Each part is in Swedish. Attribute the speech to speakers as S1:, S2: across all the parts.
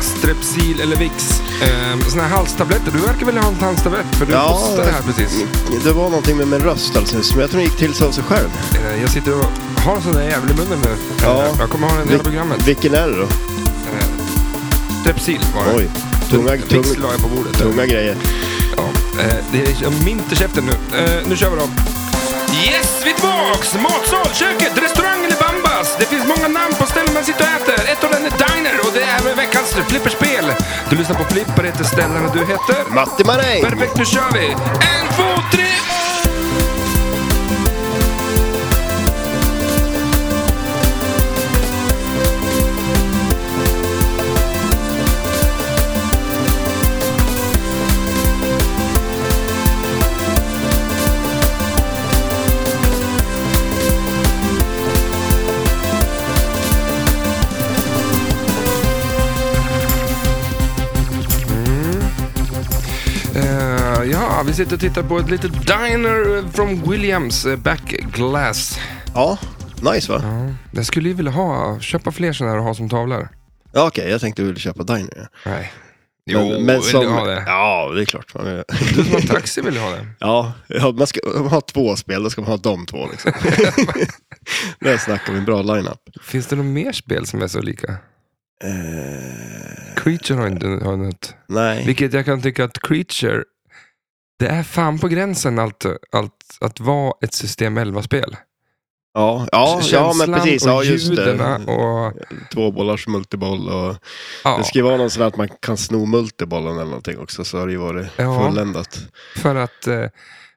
S1: Strepsil eller Vicks. Ehm, Såna här halstabletter. Du verkar väl ha en halstablett? För du
S2: Ja,
S1: hostade här precis.
S2: Det var någonting med min röst alltså, som jag tror den gick till sig av sig själv.
S1: Eh, Jag sitter och har en sån där jävel i munnen nu.
S2: Ja.
S1: Jag kommer ha den i hela programmet.
S2: Vilken är det då?
S1: Eh, Strepsil var det.
S2: Oj, tunga,
S1: Vicks
S2: tunga,
S1: la jag på bordet. där.
S2: tunga grejer.
S1: Ja, eh, det är jag mint i käften nu. Eh, nu kör vi då. Yes, vi är tillbaks! Matsal, köket, restaurang eller bambas. Det finns många namn på ställen man sitter och äter. Ett av dem är Diner och det är även veckans flipperspel. Du lyssnar på Flipper, heter ställen och du heter?
S2: Matti Maräng!
S1: Perfekt, nu kör vi! En, två, tre! Eh, ja, vi sitter och tittar på ett litet Diner eh, från Williams eh, Back Glass.
S2: Ja, nice va?
S1: Ja, jag skulle ju vilja ha, köpa fler sådana här och ha som tavlor.
S2: Ja, okej, jag tänkte du ville köpa Diner. ja.
S1: Nej. Jo, vill du ha det?
S2: Ja, det är klart. Man vill.
S1: Du som har taxi vill ju ha det.
S2: Ja, ja, man ska, om man har två spel, då ska man ha de två liksom. Där snackar vi en bra line-up.
S1: Finns det något mer spel som är så lika?
S2: Eh,
S1: Creature har inte har något.
S2: nej.
S1: Vilket jag kan tycka att Creature, det är fan på gränsen allt, allt, att vara ett system 11-spel.
S2: Ja, ja, ja men precis.
S1: och
S2: Ja, just
S1: ljuden
S2: det.
S1: och...
S2: Tvåbollars multiboll och...
S1: Ja,
S2: Det ska ju vara någon sån här att man kan sno multibollen eller någonting också, så har det ju varit
S1: Ja.
S2: fulländat.
S1: för att eh,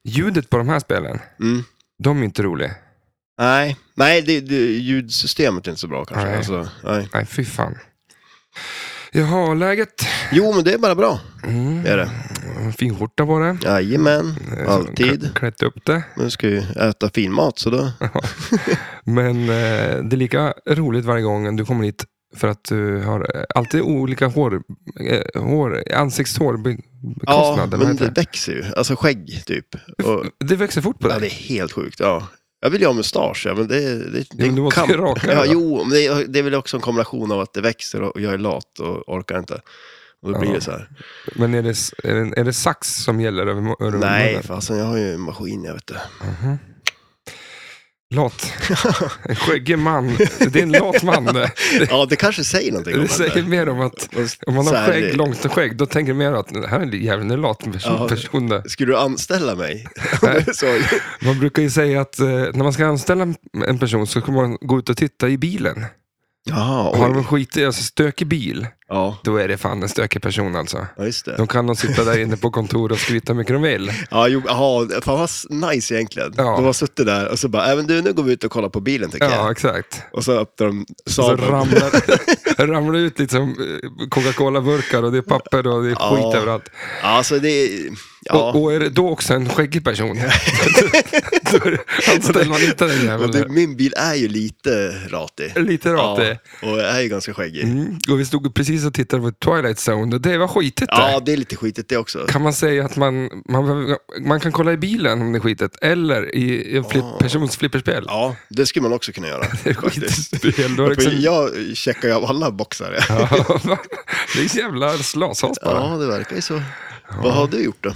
S1: ljudet på de här spelen,
S2: Mm.
S1: de är inte roliga.
S2: Nej, nej det, det, ljudsystemet är inte så bra kanske.
S1: Nej.
S2: Nej. Alltså, nej.
S1: Nej, fy fan. Jaha, läget?
S2: Jo, men det är bara bra.
S1: Mm.
S2: Det är det.
S1: En Fin skjorta var det.
S2: Jajamän, alltid.
S1: Klätt upp det.
S2: Nu ska ju äta fin mat, så då...
S1: Men eh, det är lika roligt varje gång du kommer hit för att du har eh, alltid olika hår, eh, hår,
S2: Ja,
S1: ansiktshårbekostnad.
S2: men det
S1: det,
S2: växer ju. Alltså skägg, typ. Och,
S1: det växer fort på
S2: ja, det
S1: dig.
S2: är helt sjukt. Ja. Jag vill ju ha mustasch, ja, men det, det, det
S1: men
S2: är
S1: du
S2: en
S1: måste ju
S2: kamp.
S1: raka det
S2: ja,
S1: då.
S2: Jo, men det, det är väl också en kombination av att det växer och jag är lat och orkar inte. Och då blir
S1: Ja.
S2: det så här.
S1: Men är det, s- är, det, är det sax som gäller över, mu- över
S2: Nej,
S1: munnen?
S2: fasen, jag har ju en maskin, jag vet det.
S1: Mhm. Lat. En skäggig man. Det är en lat man. Det,
S2: Ja, det kanske säger någonting om
S1: det
S2: en.
S1: säger mer om att
S2: Fast
S1: om man
S2: så
S1: har
S2: här,
S1: skägg,
S2: det-
S1: långt skägg, då tänker mer att det här är en jävligt lat person.
S2: Ja.
S1: person där.
S2: Skulle du anställa mig? Om det är så.
S1: Man brukar ju säga att eh, när man ska anställa en- en person så kommer man gå ut och titta i bilen.
S2: Jaha,
S1: Har de
S2: oj.
S1: en skitig, alltså stökig bil,
S2: Ja,
S1: då är det fan en stökig person alltså.
S2: ja, just det.
S1: De kan nog sitta där inne på kontoret och skryta hur mycket de vill.
S2: Ja, jo, aha, fan vad nice egentligen.
S1: Ja.
S2: De har suttit där och så bara, äh, men du, nu går vi ut och kollar på bilen tänker
S1: Ja,
S2: jag.
S1: exakt.
S2: Och så öppnar de
S1: Så
S2: Saaben.
S1: ramlar, ramlar ut liksom eh, Coca-Cola-burkar och det är papper och det är
S2: Ja.
S1: skit överallt.
S2: Alltså det är, ja.
S1: Och, och är det då också en skäggig person, då är det- anställer man inte den
S2: men du,
S1: jäveln.
S2: min bil är ju lite ratig.
S1: Lite rart det.
S2: Ja, och är ju ganska skäggig.
S1: Mm. Och vi stod precis och tittade på Twilight Zone och det var skitigt där.
S2: Ja, det är lite skitigt det också.
S1: Kan man säga att man, man, man kan kolla i bilen om det är skitet, eller i en flipp, persons flipperspel?
S2: Ah. Ja, det skulle man också kunna göra. faktiskt.
S1: Skitspel, då är det
S2: För
S1: liksom...
S2: jag checkar ju av alla boxar. Ja,
S1: Ja, va? det är en jävla slashas bara. Ja.
S2: det verkar ju så. Vad har du gjort då?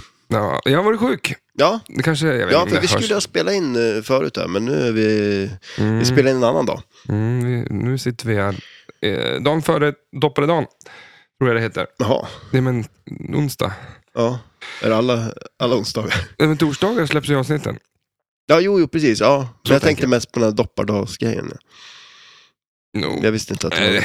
S1: jag har varit sjuk.
S2: Ja,
S1: Det kanske, jag vet
S2: ja
S1: inte,
S2: för vi
S1: det hörs.
S2: skulle ha spelat in eh, förut här, men nu är vi, vi spelar in en annan dag.
S1: Mm, vi, nu sitter vi här. Eh, dagen före dopparedagen, tror jag det heter.
S2: Jaha.
S1: Nej men, onsdag.
S2: Ja, är det alla, alla onsdagar?
S1: Nej men torsdagar släpps ju avsnitten.
S2: Ja, jo, jo precis. Ja. Men jag
S1: tänker
S2: tänkte mest på den här doppardagsgrejen.
S1: No.
S2: Jag visste inte att det
S1: Eh,
S2: var...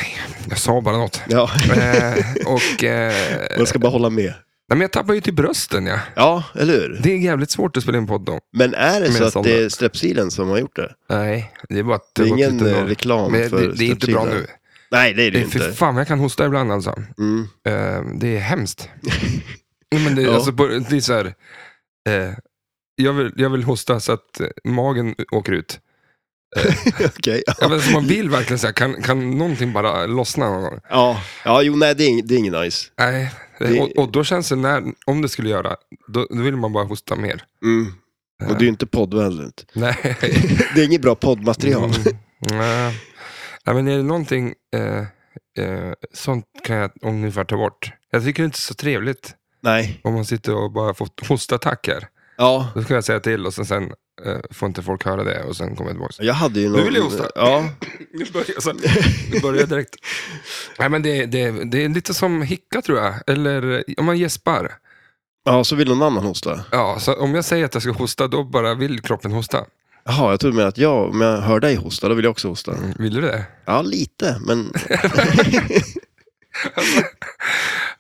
S1: jag sa bara något.
S2: Ja,
S1: Eh, och... Eh,
S2: man ska bara hålla med.
S1: nej, men jag tappar ju till brösten, ja.
S2: Ja, eller hur?
S1: Det är jävligt svårt att spela in podd om.
S2: Men är det
S1: Med
S2: så att
S1: sådana.
S2: det är strepsilen som har gjort det?
S1: Nej, det är bara att
S2: Det är
S1: har gått
S2: ingen
S1: lite
S2: eh,
S1: bra.
S2: reklam
S1: Men
S2: för
S1: det, det är inte bra
S2: strepsilen.
S1: nu.
S2: Nej, det är det
S1: Det
S2: ju
S1: är, fy
S2: inte.
S1: fan, jag kan hosta ibland alltså.
S2: Mm.
S1: Eh, det är hemskt. Nej, men det,
S2: Ja.
S1: alltså, på- det är så här, eh, jag, vill, jag vill hosta så att eh, magen åker ut.
S2: Okej.
S1: Ja, men, alltså, man vill verkligen så här, kan, kan någonting bara lossna någon gång?
S2: Ja. ja, jo, nej, det är, ing- det är inget nice.
S1: Nej,
S2: Det-
S1: och, och då känns det, när, om det skulle göra, då, då vill man bara hosta mer.
S2: Mm. Och det är ju inte poddvänligt.
S1: Nej.
S2: Det är inget bra poddmaterial.
S1: Mm. Nej. Ja, men är det någonting eh, eh, sånt kan jag ungefär ta bort. Jag tycker det är inte så trevligt
S2: Nej.
S1: om man sitter och bara får hostattacker.
S2: Ja.
S1: Då ska jag säga till och sen, sen eh, får inte folk höra det och sen kommer jag tillbaka.
S2: Jag hade ju någon...
S1: Nu vill jag hosta.
S2: Ja.
S1: Nu börjar jag, så, nu börjar jag direkt. Nej, men det, det, det är lite som hicka tror jag. Eller eh, om man gäspar.
S2: ja, så vill någon annan hosta.
S1: Ja, så om jag säger att jag ska hosta, då bara vill kroppen hosta.
S2: Jaha, jag tror med att jag, om jag hör dig hosta, då vill jag också hosta.
S1: Mm, Vill du det?
S2: Ja, lite, men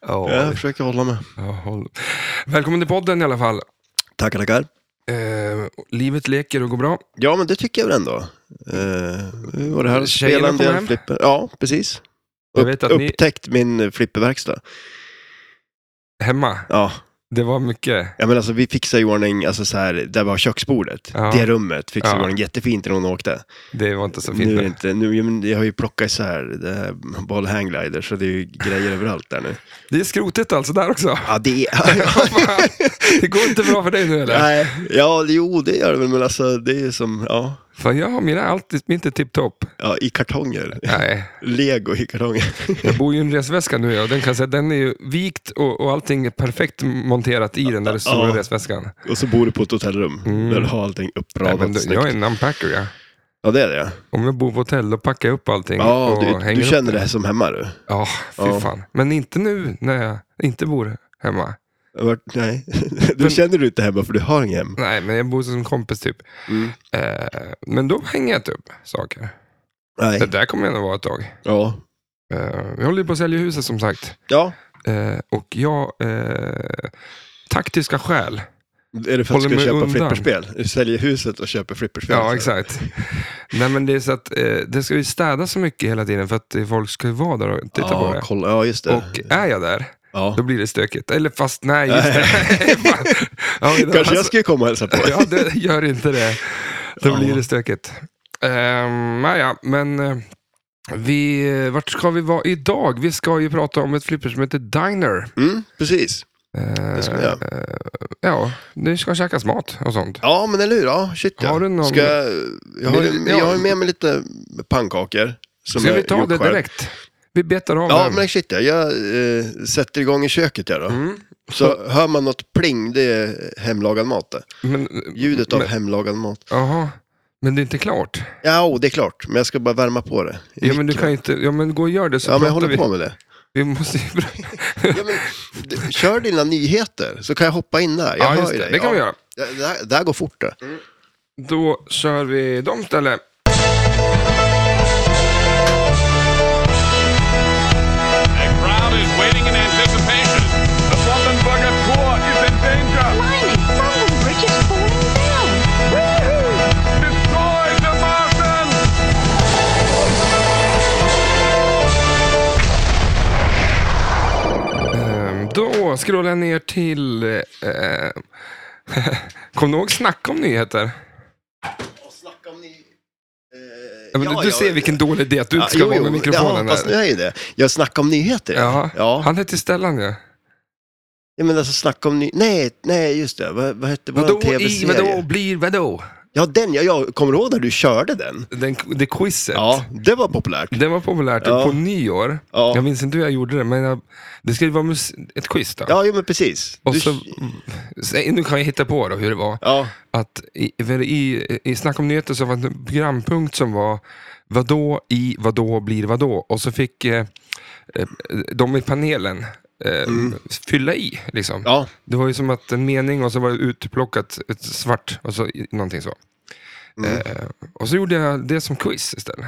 S1: Ja.
S2: jag försöker hålla med.
S1: ja, håll. Välkommen till podden i alla fall.
S2: Tackar, tackar.
S1: Eh, livet leker och går bra.
S2: Ja, men det tycker jag väl ändå. Uh, var det här
S1: Tjejerna
S2: spela en
S1: kommer
S2: del
S1: hem?
S2: flipper? Ja, precis.
S1: Jag
S2: Upp,
S1: vet att ni-
S2: upptäckt min eh, flipperverkstad.
S1: Hemma.
S2: Ja,
S1: Det var mycket.
S2: ja men alltså vi fixade i ordning, alltså så här, där var köksbordet.
S1: Ja.
S2: Det rummet fixade
S1: Ja.
S2: i ordning jättefint när hon åkte.
S1: Det var inte så
S2: Nu
S1: fint.
S2: är det inte, nu, ja, men jag har ju plockat isär det här ball hangglider, så det är ju grejer överallt där nu.
S1: Det är skrotigt alltså där också.
S2: Ja, det är...
S1: Fan, det går inte bra för dig nu eller?
S2: Nej, ja, jo det gör det väl, men alltså det är ju som, ja,
S1: Fan, jag har mina alltid, mitt är tipptopp.
S2: ja i kartonger.
S1: Nej,
S2: Lego i kartonger.
S1: jag bor ju i en resväska nu och den, kan jag säga, den är ju vikt och, och allting är perfekt monterat i den där stora
S2: Ja.
S1: resväskan.
S2: Och så bor du på ett hotellrum,
S1: Mm.
S2: där du har allting
S1: Nej, men
S2: uppradat
S1: du,
S2: snyggt.
S1: jag är en unpacker jag.
S2: Ja, det är det.
S1: Om jag bor på hotell då packar jag upp allting
S2: Ja,
S1: och
S2: du,
S1: hänger
S2: du känner
S1: upp
S2: det här som hemma du?
S1: Ja, fy
S2: Ja.
S1: fan. Men inte nu när jag inte bor hemma.
S2: Jag har varit- Nej, du
S1: Men-
S2: känner du inte hemma för du har inget hem.
S1: Nej, men jag bor som en kompis typ. Eh, men då hänger jag upp saker.
S2: Nej,
S1: Det där kommer jag nog vara ett tag.
S2: ja.
S1: Eh, vi håller ju på att sälja huset som sagt.
S2: Ja,
S1: Eh, och jag... Eh, taktiska skäl.
S2: är det för att
S1: Håller
S2: du ska
S1: mig
S2: köpa
S1: undan.
S2: flipperspel? Du säljer huset och köper flipperspel.
S1: Ja, exakt. Nej, men det är så att eh, det ska ju städas så mycket hela tiden för att eh, folk ska ju vara där och titta
S2: ja,
S1: på det.
S2: Kolla. Ja, just det.
S1: Och är jag där,
S2: ja.
S1: då blir det stökigt. Eller fast nej, just det. Fan. ja, alltså- men då-
S2: Kanske jag skulle komma och hälsa på.
S1: ja, det gör inte det. Då
S2: Ja.
S1: blir det stökigt. Um, naja, men eh, vi, vart ska vi vara idag? Vi ska ju prata om ett flipper som heter Diner.
S2: Mm, precis.
S1: Eh,
S2: Det ska vi göra.
S1: eh, ja, det ska käkas mat och sånt.
S2: Ja, men eller hur? Ja, shit ja.
S1: Har du någon-
S2: Ska jag... Jag, har, ju-
S1: Ja.
S2: jag har ju med mig lite pannkakor. Som
S1: Ska
S2: jag
S1: vi ta
S2: gjort
S1: det
S2: själv.
S1: direkt? Vi betar av
S2: Ja,
S1: den.
S2: men shit ja. Jag eh, sätter igång i köket jag då.
S1: Mm.
S2: Så hör man något pling, det är hemlagad mat det.
S1: Men,
S2: Ljudet av
S1: Men-
S2: hemlagad mat.
S1: aha. men det är inte klart.
S2: Ja, o, det är klart. Men jag ska bara värma på det. I
S1: Ja, men du
S2: mikron.
S1: kan ju inte... Ja, men gå och gör det så
S2: Ja, men jag
S1: pratar vi.
S2: håller på med det.
S1: Vi måste ju...
S2: Ja, men, d- kör dina nyheter, så kan jag hoppa in där. Jag
S1: ja,
S2: hör
S1: just
S2: ju
S1: det.
S2: dig.
S1: Det kan
S2: ja.
S1: vi göra.
S2: Det, det, här, det här går fort det.
S1: Då kör vi de ställen.
S3: The crowd is waiting in anticipation. The Southern Bucket Tour is in danger.
S4: Blimey, Blimey, the bridge is falling down. Woohoo!
S3: Destroy the Martians!
S1: Ehm, Då scrollar jag ner till... Eh, Kommer du ihåg Snacka om nyheter? eh, Ja, men du du ser vilken dålig idé att du ska vara med mikrofonen
S2: Ja, fast nu
S1: där.
S2: är ju det. Jag snackar om nyheter.
S1: Ja,
S2: ja.
S1: Han heter Stellan ju.
S2: ja men alltså snacka om ny... Nej, nej, just det. Vad, vad hette vår
S1: Vadå i, vadå
S2: tv-serie?
S1: blir, vadå?
S2: Ja, den. Ja, jag kommer du ihåg när du körde den?
S1: Den, det quizet.
S2: Ja, det var populärt.
S1: Det var populärt
S2: Ja.
S1: på nyår.
S2: Ja.
S1: Jag minns inte hur jag gjorde det, men jag, det skulle vara mus- ett quiz då.
S2: Ja, jo, men precis.
S1: Och
S2: Du-
S1: så, Säg- nu kan jag hitta på då hur det var.
S2: Ja,
S1: Att i, väl i, I Snack om nyheter så var det en programpunkt som var Vadå i vadå blir vadå? Och så fick eh, eh, de i panelen eh, fylla i. Liksom.
S2: Mm. ja,
S1: Det var ju som att en mening och så var det utplockat ett svart och så i- någonting så.
S2: Mm.
S1: Eh, och så gjorde jag det som quiz istället.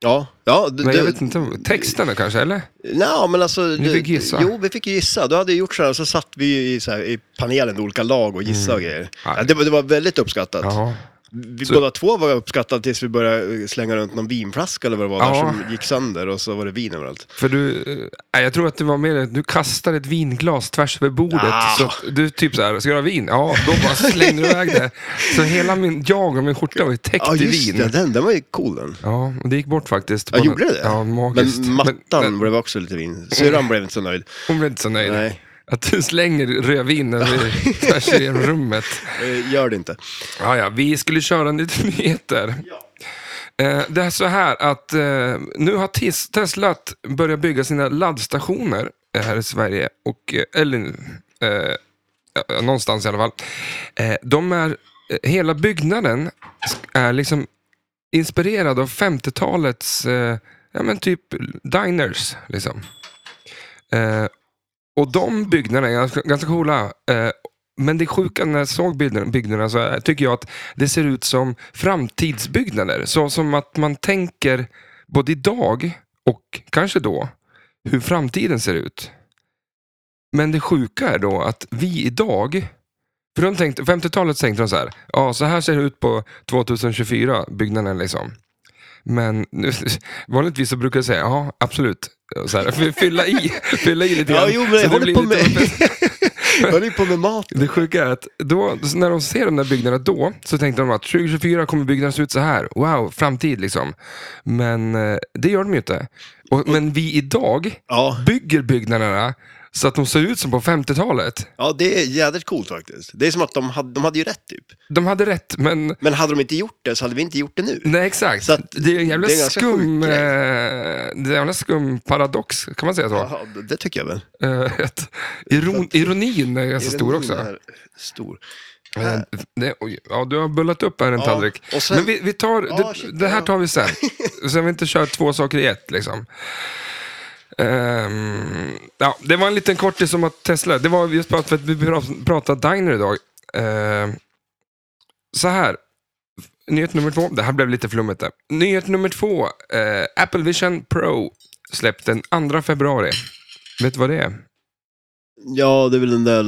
S2: ja. ja du,
S1: Men jag
S2: du-
S1: vet inte, texterna kanske eller?
S2: Nej, men alltså...
S1: Ni
S2: du-
S1: fick gissa.
S2: Jo, vi fick ju gissa. Du hade ju gjort så här, så satt vi ju i, så här, i panelen i olika lag och gissade och grejer.
S1: Mm. Ja.
S2: Ja, det, var- det var väldigt uppskattat.
S1: Ja.
S2: Vi
S1: Så-
S2: båda två var uppskattade tills vi började eh, slänga runt någon vinflaska eller vad det var där
S1: Ja.
S2: som gick sönder och så var det vin överallt.
S1: För du, eh, nej, jag tror att det var mer att du kastade ett vinglas tvärs över bordet.
S2: Ah.
S1: Så att du typ så här, ska du ha vin? Ja, då bara slängde du iväg det. Så hela min, jag och min skjorta var ju täckt
S2: Ja,
S1: i
S2: just
S1: vin.
S2: det. Den, den var ju cool den.
S1: Ja, och det gick bort faktiskt.
S2: Ja,
S1: På
S2: gjorde
S1: något-
S2: det?
S1: Ja, magiskt.
S2: Men mattan
S1: men
S2: blev också lite vin. Syrran blev inte så nöjd.
S1: hon blev inte så nöjd.
S2: Nej.
S1: Att du slänger rödvin över- tvärs genom rummet.
S2: Eh, Gör det inte.
S1: Ja, ja, vi skulle köra lite nyheter. Eh, Det är så här att eh, nu har Tis- Tesla börjat bygga sina laddstationer eh, här i Sverige. Och, eh, eller eh, ja, någonstans i alla fall. Eh, de är, eh, hela byggnaden sk- är liksom inspirerad av 50-talets eh, ja, men typ diners. Liksom. Eh, och de byggnaderna är ganska, ganska coola. Eh, men det sjuka när jag såg byggnaderna, byggnaderna så eh, tycker jag att det ser ut som framtidsbyggnader. Så som att man tänker både idag och kanske då hur framtiden ser ut. Men det sjuka är då att vi idag, för de tänkte, 50-talet tänkte de så här, ja så här ser det ut på 2024, byggnaden liksom. Men nu, vanligtvis så brukar jag säga, ja absolut, så här, fy- fylla i, fylla i lite
S2: Ja,
S1: grann.
S2: jo, men
S1: Så
S2: jag
S1: det
S2: håller
S1: blir
S2: på
S1: lite
S2: med...
S1: öppet.
S2: jag håller ju på med mat.
S1: Det sjuka är att då, när de ser de där byggnaderna då, så tänkte de att 2024 kommer byggnaderna se ut så här. Wow, framtid liksom. Men eh, det gör de ju inte. Och, men vi idag
S2: Ja.
S1: bygger byggnaderna så att de ser ut som på 50-talet.
S2: ja, det är jädrigt coolt faktiskt. Det är som att de hade, de hade ju rätt typ.
S1: De hade rätt, men
S2: Men hade de inte gjort det så hade vi inte gjort det nu.
S1: nej exakt.
S2: Så att-
S1: det är en jävla
S2: det är en ganska
S1: skum, eh, det
S2: sjuk grej.
S1: är en jävla skum paradox, kan man säga så?
S2: Ja, det- det tycker jag väl.
S1: Eh, att iron, ironin är ganska stor också.
S2: Ironin är Stor.
S1: Eh, Det, oj, ja, du har bullat upp här en
S2: Ja,
S1: tallrik.
S2: och sen-
S1: Men vi, vi tar,
S2: Ja,
S1: det,
S2: shit,
S1: det här
S2: ja.
S1: tar vi sen. så vi inte kör två saker i ett. Liksom. Ehm, ja, det var en liten kortis om att Tesla. Det var just bara för att vi pra- pratade Diner idag. Ehm, så här. Nyhet nummer två. Det här blev lite flummigt. Där. Nyhet nummer två. Eh, Apple Vision Pro släppt den 2 februari. Vet du vad det är?
S2: Ja, det är väl den där,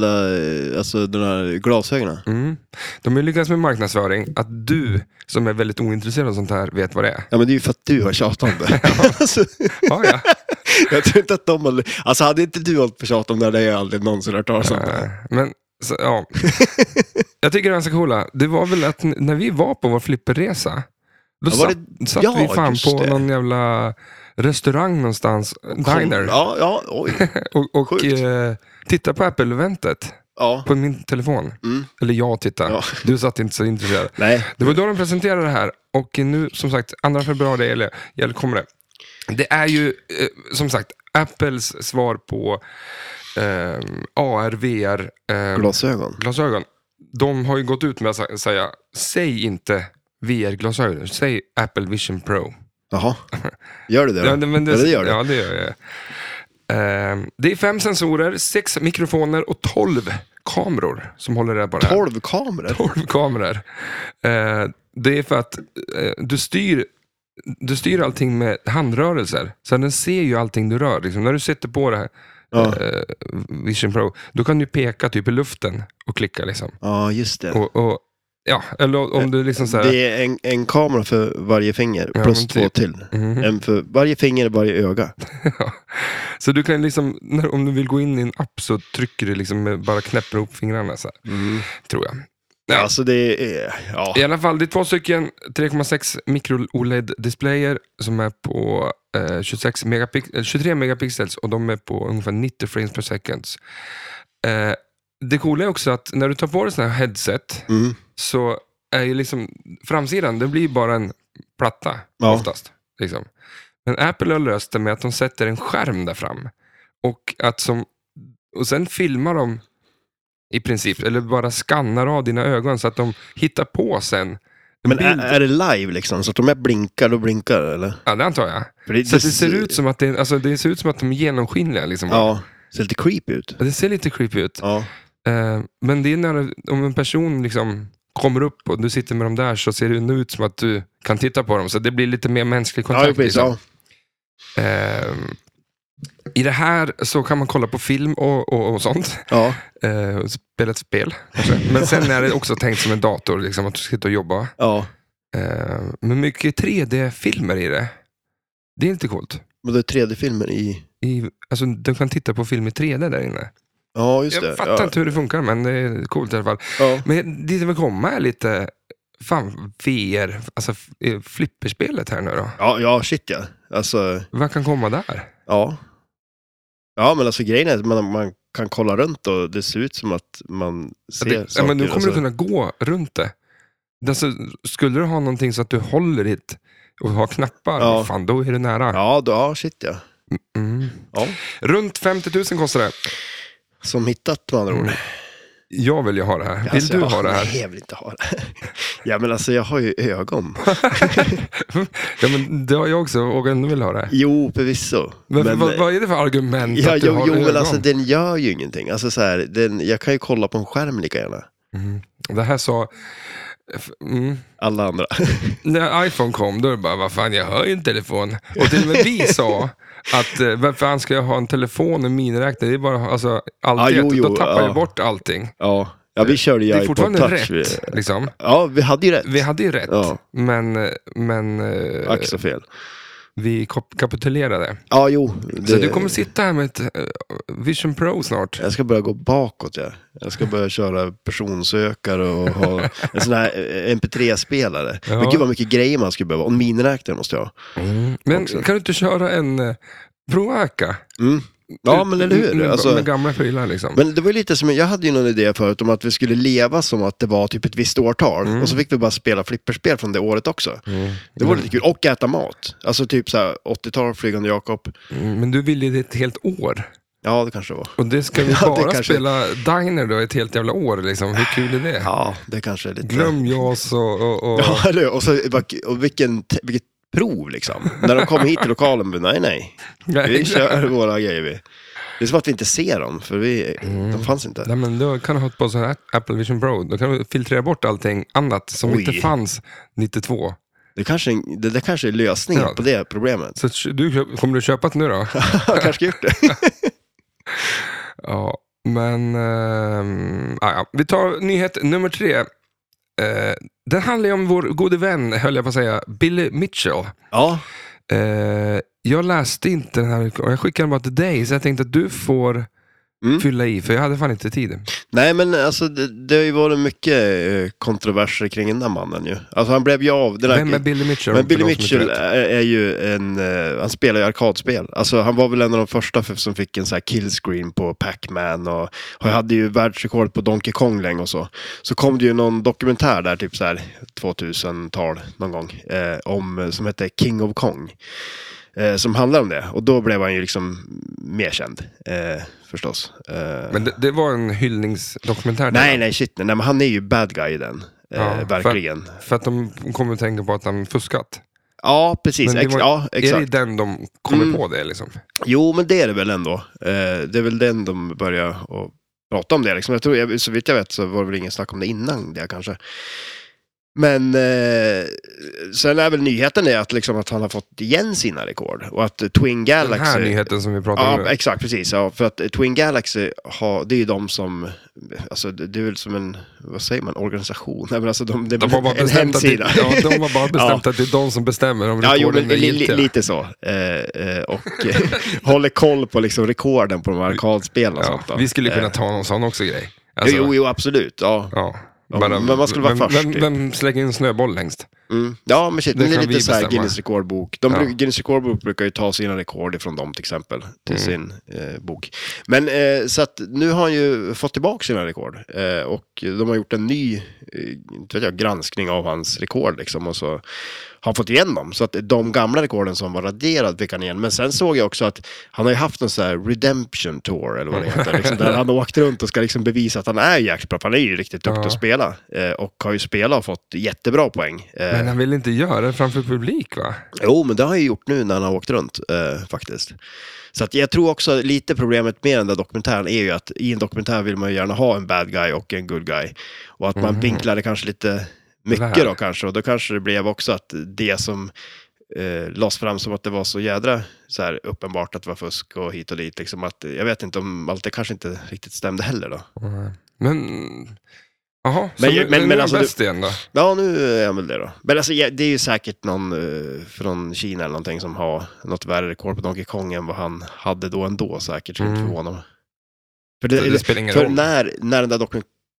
S2: eh, alltså de där glasögonen.
S1: Mm. De har ju lyckats med marknadsföring att du som är väldigt ointresserad av sånt här vet vad det är.
S2: Ja, men det är ju för att du har tjatat om det. alltså,
S1: Ja, ja.
S2: jag tror inte att de har... Alltså hade inte du hållit på och tjatat om det hade jag aldrig någonsin hört talas om det.
S1: Eh, Men, så, ja. Jag tycker det är ganska coola. Det var väl att n- när vi var på vår flipperresa, då
S2: Ja, var
S1: satt, satt
S2: ja,
S1: vi fan
S2: just
S1: på
S2: det.
S1: någon jävla restaurang någonstans, diner,
S2: Ja, ja, oj.
S1: och, och
S2: sjukt.
S1: eh, tittade på Apple-eventet
S2: Ja.
S1: på min telefon.
S2: Mm.
S1: Eller jag tittade.
S2: Ja.
S1: Du satt inte så intresserad.
S2: Nej.
S1: Det var då de presenterade det här och nu som sagt 2 februari eller, eller kommer det. Det är ju eh, som sagt Apples svar på eh, AR-VR eh,
S2: Glasögon.
S1: glasögon. De har ju gått ut med att sa- säga, säg inte VR-glasögon, säg Apple Vision Pro.
S2: Jaha. Gör du det då?
S1: Ja, men
S2: ja, det gör du.
S1: Ja, det gör jag. Eh, det är fem sensorer, sex mikrofoner och tolv kameror som håller reda på det här.
S2: Tolv kameror?
S1: 12 kameror. Eh, det är för att eh, du styr du styr allting med handrörelser, så den ser ju allting du rör. Liksom. När du sätter på det här
S2: Ja.
S1: eh, Vision Pro, då kan du peka typ i luften och klicka. Liksom.
S2: ja, just det.
S1: Och, och, ja, eller om du liksom så här,
S2: Det är en, en kamera för varje finger,
S1: Ja,
S2: plus
S1: men
S2: två
S1: typ.
S2: till. En för varje finger, varje öga.
S1: Så du kan liksom, när, om du vill gå in i en app så trycker du liksom, med- bara knäpper ihop fingrarna så här, tror jag. Mm. Ja.
S2: Alltså det är... Ja.
S1: I alla fall, det är två stycken 3,6 mikro-OLED-displayer E som är på eh, 26 megapix- eh, 23 megapixels och de är på ungefär 90 frames per second. Eh, det coola är också att när du tar på dig sådana här headset
S2: Mm.
S1: så är ju liksom framsidan, det blir bara en platta
S2: Ja.
S1: oftast. Liksom. Men Apple har löst det med att de sätter en skärm där fram. Och, att som, och sen filmar de i princip, eller bara skannar av dina ögon så att de hittar på sen en
S2: Men är,
S1: bild.
S2: är det live liksom? Så att de här blinkar, då blinkar det, eller?
S1: Ja, det antar jag.
S2: För det,
S1: Så att det ser ut som att, det, alltså, det ser ut som att de är genomskinliga. Liksom.
S2: Ja, ser lite creepy ut.
S1: Det ser lite creepy ut.
S2: Ja,
S1: Eh, men det är när, om en person liksom kommer upp och du sitter med dem där så ser det ut som att du kan titta på dem. Så det blir lite mer mänsklig
S2: ja
S1: kontakt.
S2: precis.
S1: liksom.
S2: Ja.
S1: Ehm, I det här så kan man kolla på film och, och, och sånt.
S2: Ja.
S1: Eh, och spela ett spel kanske. Men sen är det också tänkt som en dator, liksom, att du ska sitta och jobba.
S2: ja,
S1: Eh, men mycket 3D-filmer i det. Det är inte coolt.
S2: men det är 3D-filmer i...
S1: I, alltså, du kan titta på film i 3D där inne.
S2: Ja, just det.
S1: Jag fattar
S2: ja.
S1: inte hur det funkar, men det är coolt i alla fall.
S2: Ja.
S1: Men dit jag vill komma är lite, fan VR, alltså f- eh, flipperspelet här nu då.
S2: Ja, ja, shit ja. Alltså,
S1: Vad kan komma där?
S2: ja. Ja, men alltså grejen är att man, man kan kolla runt och det ser ut som att man ser
S1: Det, ja,
S2: saker.
S1: men nu kommer
S2: alltså.
S1: du kunna gå runt det. Alltså, skulle du ha någonting så att du håller i ett och har knappar,
S2: Ja.
S1: fan då är det nära.
S2: Ja, då, ja, shit ja. ja.
S1: Runt 50 000 kostar det.
S2: Som hittat med andra ord.
S1: Jag vill ju ha det här. Mm. Vill
S2: Alltså,
S1: du
S2: ja,
S1: ha det här?
S2: Nej, jag vill inte ha det. ja, men alltså jag har ju ögon.
S1: Ja, men det har jag också och ändå vill ha det.
S2: Jo, förvisso.
S1: Men, vad, vad är det för argument
S2: eh, ja,
S1: att du
S2: jo,
S1: har
S2: jo
S1: ögon?
S2: men alltså den gör ju ingenting. Alltså så här, den, jag kan ju kolla på en skärm lika gärna.
S1: Det här sa... f- Mm.
S2: Alla andra.
S1: När iPhone kom, då är det bara, vad fan, jag hör ju en telefon. Och till och med vi sa att eh, vad fan ska jag ha en telefon och en miniräknare? Det är bara, alltså, alltid,
S2: Ja, jo,
S1: att-
S2: jo,
S1: då tappar
S2: ja.
S1: jag bort allting.
S2: ja. ja, vi körde ju
S1: Det är
S2: iPod
S1: fortfarande
S2: Touch.
S1: rätt,
S2: Vi,
S1: liksom.
S2: ja, vi hade ju rätt.
S1: Vi hade ju rätt,
S2: Ja.
S1: men, eh, men eh,
S2: Ack så fel.
S1: vi kap- kapitulerade.
S2: Ja, jo.
S1: Så
S2: det-
S1: du kommer sitta här med ett eh, Vision Pro snart.
S2: Jag ska börja gå bakåt, ja. Jag ska börja köra personsökare och ha en sån här eh, MP3-spelare.
S1: Ja.
S2: Men gud vad mycket grejer man skulle behöva. Och en miniräknare måste jag ha.
S1: Men
S2: också.
S1: kan du inte köra en eh, Proaca?
S2: Mm. Ja, men eller hur?
S1: Med,
S2: Alltså,
S1: med gamla prylar liksom.
S2: men det var ju lite som, jag hade ju någon idé förut om att vi skulle leva som att det var typ ett visst årtal. Och så fick vi bara spela flipperspel från det året också. Det var lite kul. Och äta mat. Alltså typ så här 80-tal, Flygande Jakob.
S1: Mm, men du ville det ett helt år.
S2: Ja, det kanske det var.
S1: Och det ska vi
S2: Ja, det
S1: bara
S2: kanske-
S1: spela Diner då ett helt jävla år liksom. Hur kul är det?
S2: Ja, det kanske är lite...
S1: Glöm JAS och... och, och...
S2: Ja, eller hur? och, så, och vilken, te- vilket prov liksom. När de kom hit till lokalen, men nej, nej.
S1: Nej,
S2: Vi kör våra grejer vi. Det är som att vi inte ser dem, för vi,
S1: Mm.
S2: de fanns inte.
S1: Nej, men då kan du ha ett par sådana här Apple Vision Pro. Då kan du filtrera bort allting annat som
S2: Oj.
S1: inte fanns 92.
S2: Det kanske, det, det kanske är lösningen
S1: Ja.
S2: på det problemet.
S1: Så att du, köp- kommer du köpa det nu då?
S2: Jag kanske gjort det.
S1: ja, men... ehm, ah, ja. Vi tar nyhet nummer tre. Eh, den handlar ju om vår gode vän, höll jag på att säga, Billy Mitchell.
S2: Ja,
S1: Eh, jag läste inte den här och jag skickade den bara till dig, så jag tänkte att du får
S2: Mm.
S1: fylla i, för jag hade fan inte tid.
S2: nej men alltså det, det har ju varit mycket eh, kontroverser kring den där mannen ju. Alltså han blev ju av. Den här,
S1: Vem är Billy Mitchell?
S2: men Billy
S1: För de som inte
S2: Mitchell
S1: vet.
S2: är, är ju en, eh, han spelar ju arkadspel. Alltså han var väl en av de första för, som fick en sån här killscreen på Pac-Man och han hade ju världsrekord på Donkey Kong länge och så. Så kom det ju någon dokumentär där, typ så här 2000-tal någon gång, eh, om, som hette King of Kong. Eh, som handlar om det och då blev han ju liksom mer känd eh, förstås. Eh,
S1: Men det, det var en hyllningsdokumentär. där.
S2: Nej, nej, shit. Nej, men han är ju bad guy i den. Eh,
S1: Ja,
S2: verkligen.
S1: För att de kommer att tänka på att han fuskat.
S2: Ja, precis.
S1: Men det
S2: Ex-
S1: var-
S2: ja, exakt.
S1: Är det den de kommer
S2: Mm.
S1: på det liksom?
S2: Jo, men det är det väl ändå. Eh, det är väl den de börjar att prata om det. Liksom. Jag tror, jag, så vitt jag vet så var det väl ingen snack om det innan det kanske. Men eh, sen är väl nyheten är att, liksom, att han har fått igen sina rekord. Och att eh, Twin
S1: Den
S2: Galaxy...
S1: här nyheten som vi pratade om
S2: Ja,
S1: nu.
S2: exakt, precis. Ja, för att eh, Twin Galaxy, har, det är ju de som, alltså det det är väl som en, vad säger man, organisation? Nej, men alltså de, det är
S1: De
S2: väl
S1: har bara
S2: en
S1: bestämt, att det,
S2: hemsida.
S1: ja, de har bara bestämt att det är de som bestämmer om
S2: Ja, jo,
S1: rekorden
S2: men
S1: är
S2: li, li,
S1: giltiga.
S2: lite så. Eh, eh, och eh, håller koll på liksom rekorden på de här arkadspelen och
S1: ja,
S2: sånt. Då.
S1: Vi skulle kunna
S2: Eh,
S1: ta någon sån också grej. Alltså,
S2: jo, jo, absolut. Ja,
S1: Ja.
S2: Ja, men man skulle vara
S1: vem,
S2: först,
S1: Vem,
S2: typ.
S1: vem slänger in snöboll längst?
S2: mm. ja men shit,
S1: Det
S2: det är
S1: kan vi
S2: lite så här
S1: bestämma.
S2: Guinness rekordbok. De,
S1: Ja.
S2: bruk- Guinness rekordbok brukar ju ta sina rekord ifrån dem till exempel,
S1: Mm.
S2: till sin eh, bok. Men eh, så att nu har han ju fått tillbaka sina rekord. Eh, och de har gjort en ny eh, inte vet jag, granskning av hans rekord liksom. Och så har fått igen dem. Så att de gamla rekorden som var raderad fick han igen. Men sen såg jag också att han har ju haft en sån här redemption tour eller vad det heter. Liksom, där han har åkt runt och ska liksom bevisa att han är jäkligt bra. för Han är ju riktigt duktig
S1: Ja.
S2: att spela. Eh, och har ju spelat och fått jättebra poäng. Eh,
S1: Men han vill inte göra det framför publik va?
S2: Jo, men det har jag ju gjort nu när han har åkt runt eh, faktiskt. Så att jag tror också lite problemet med den där dokumentären är ju att i en dokumentär vill man ju gärna ha en bad guy och en good guy. Och att man vinklar det kanske lite mycket
S1: Väl.
S2: då kanske. Och då kanske det blev också att det som eh, lades fram som att det var så jädra så här, uppenbart att det var fusk och hit och dit. Liksom att, jag vet inte om allt det kanske inte riktigt stämde heller då.
S1: Men... Jaha, så
S2: Men-
S1: nu,
S2: men-
S1: men,
S2: men
S1: nu är
S2: alltså
S1: han
S2: du-
S1: bäst igen då?
S2: Ja, nu är han väl det då. Men alltså, ja, det är ju säkert någon eh, från Kina eller någonting som har något värre rekord på Donkey Kong än vad han hade då ändå säkert. Skulle
S1: Mm.
S2: inte förvåna mig. För, det,
S1: Det, det spelar ingen
S2: för
S1: roll.
S2: när, när den där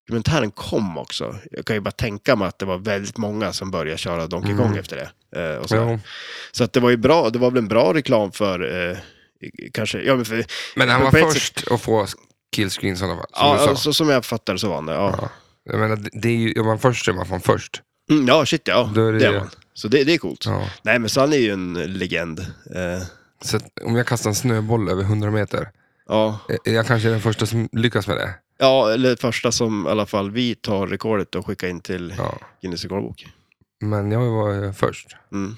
S2: dokumentären kom också, jag kan ju bara tänka mig att det var väldigt många som började köra Donkey
S1: Mm.
S2: Kong efter det. eh, och så.
S1: Jo.
S2: så att det var ju bra, det var väl en bra reklam för eh, kanske, ja men för,
S1: Men han
S2: Men
S1: var
S2: på ett
S1: först att få killscreen i sådana fall. Som
S2: ja, alltså-
S1: du sa.
S2: så, som jag fattar det så var han det. Ja,
S1: Ja. Jag menar, det- det är ju, är man först så är man fan först.
S2: mm, ja shit ja,
S1: Då är det,
S2: det var han. Så det, det är coolt.
S1: Ja.
S2: Nej, men Sanne är ju en legend. Eh,
S1: Så att om jag kastar en snöboll över 100 meter,
S2: ja.
S1: eh, jag kanske är den första som lyckas med det.
S2: ja, eller första som i alla fall vi tar rekordet och skickar in till
S1: Ja.
S2: Guinness rekordbok.
S1: Men jag var eh, först.
S2: Mm.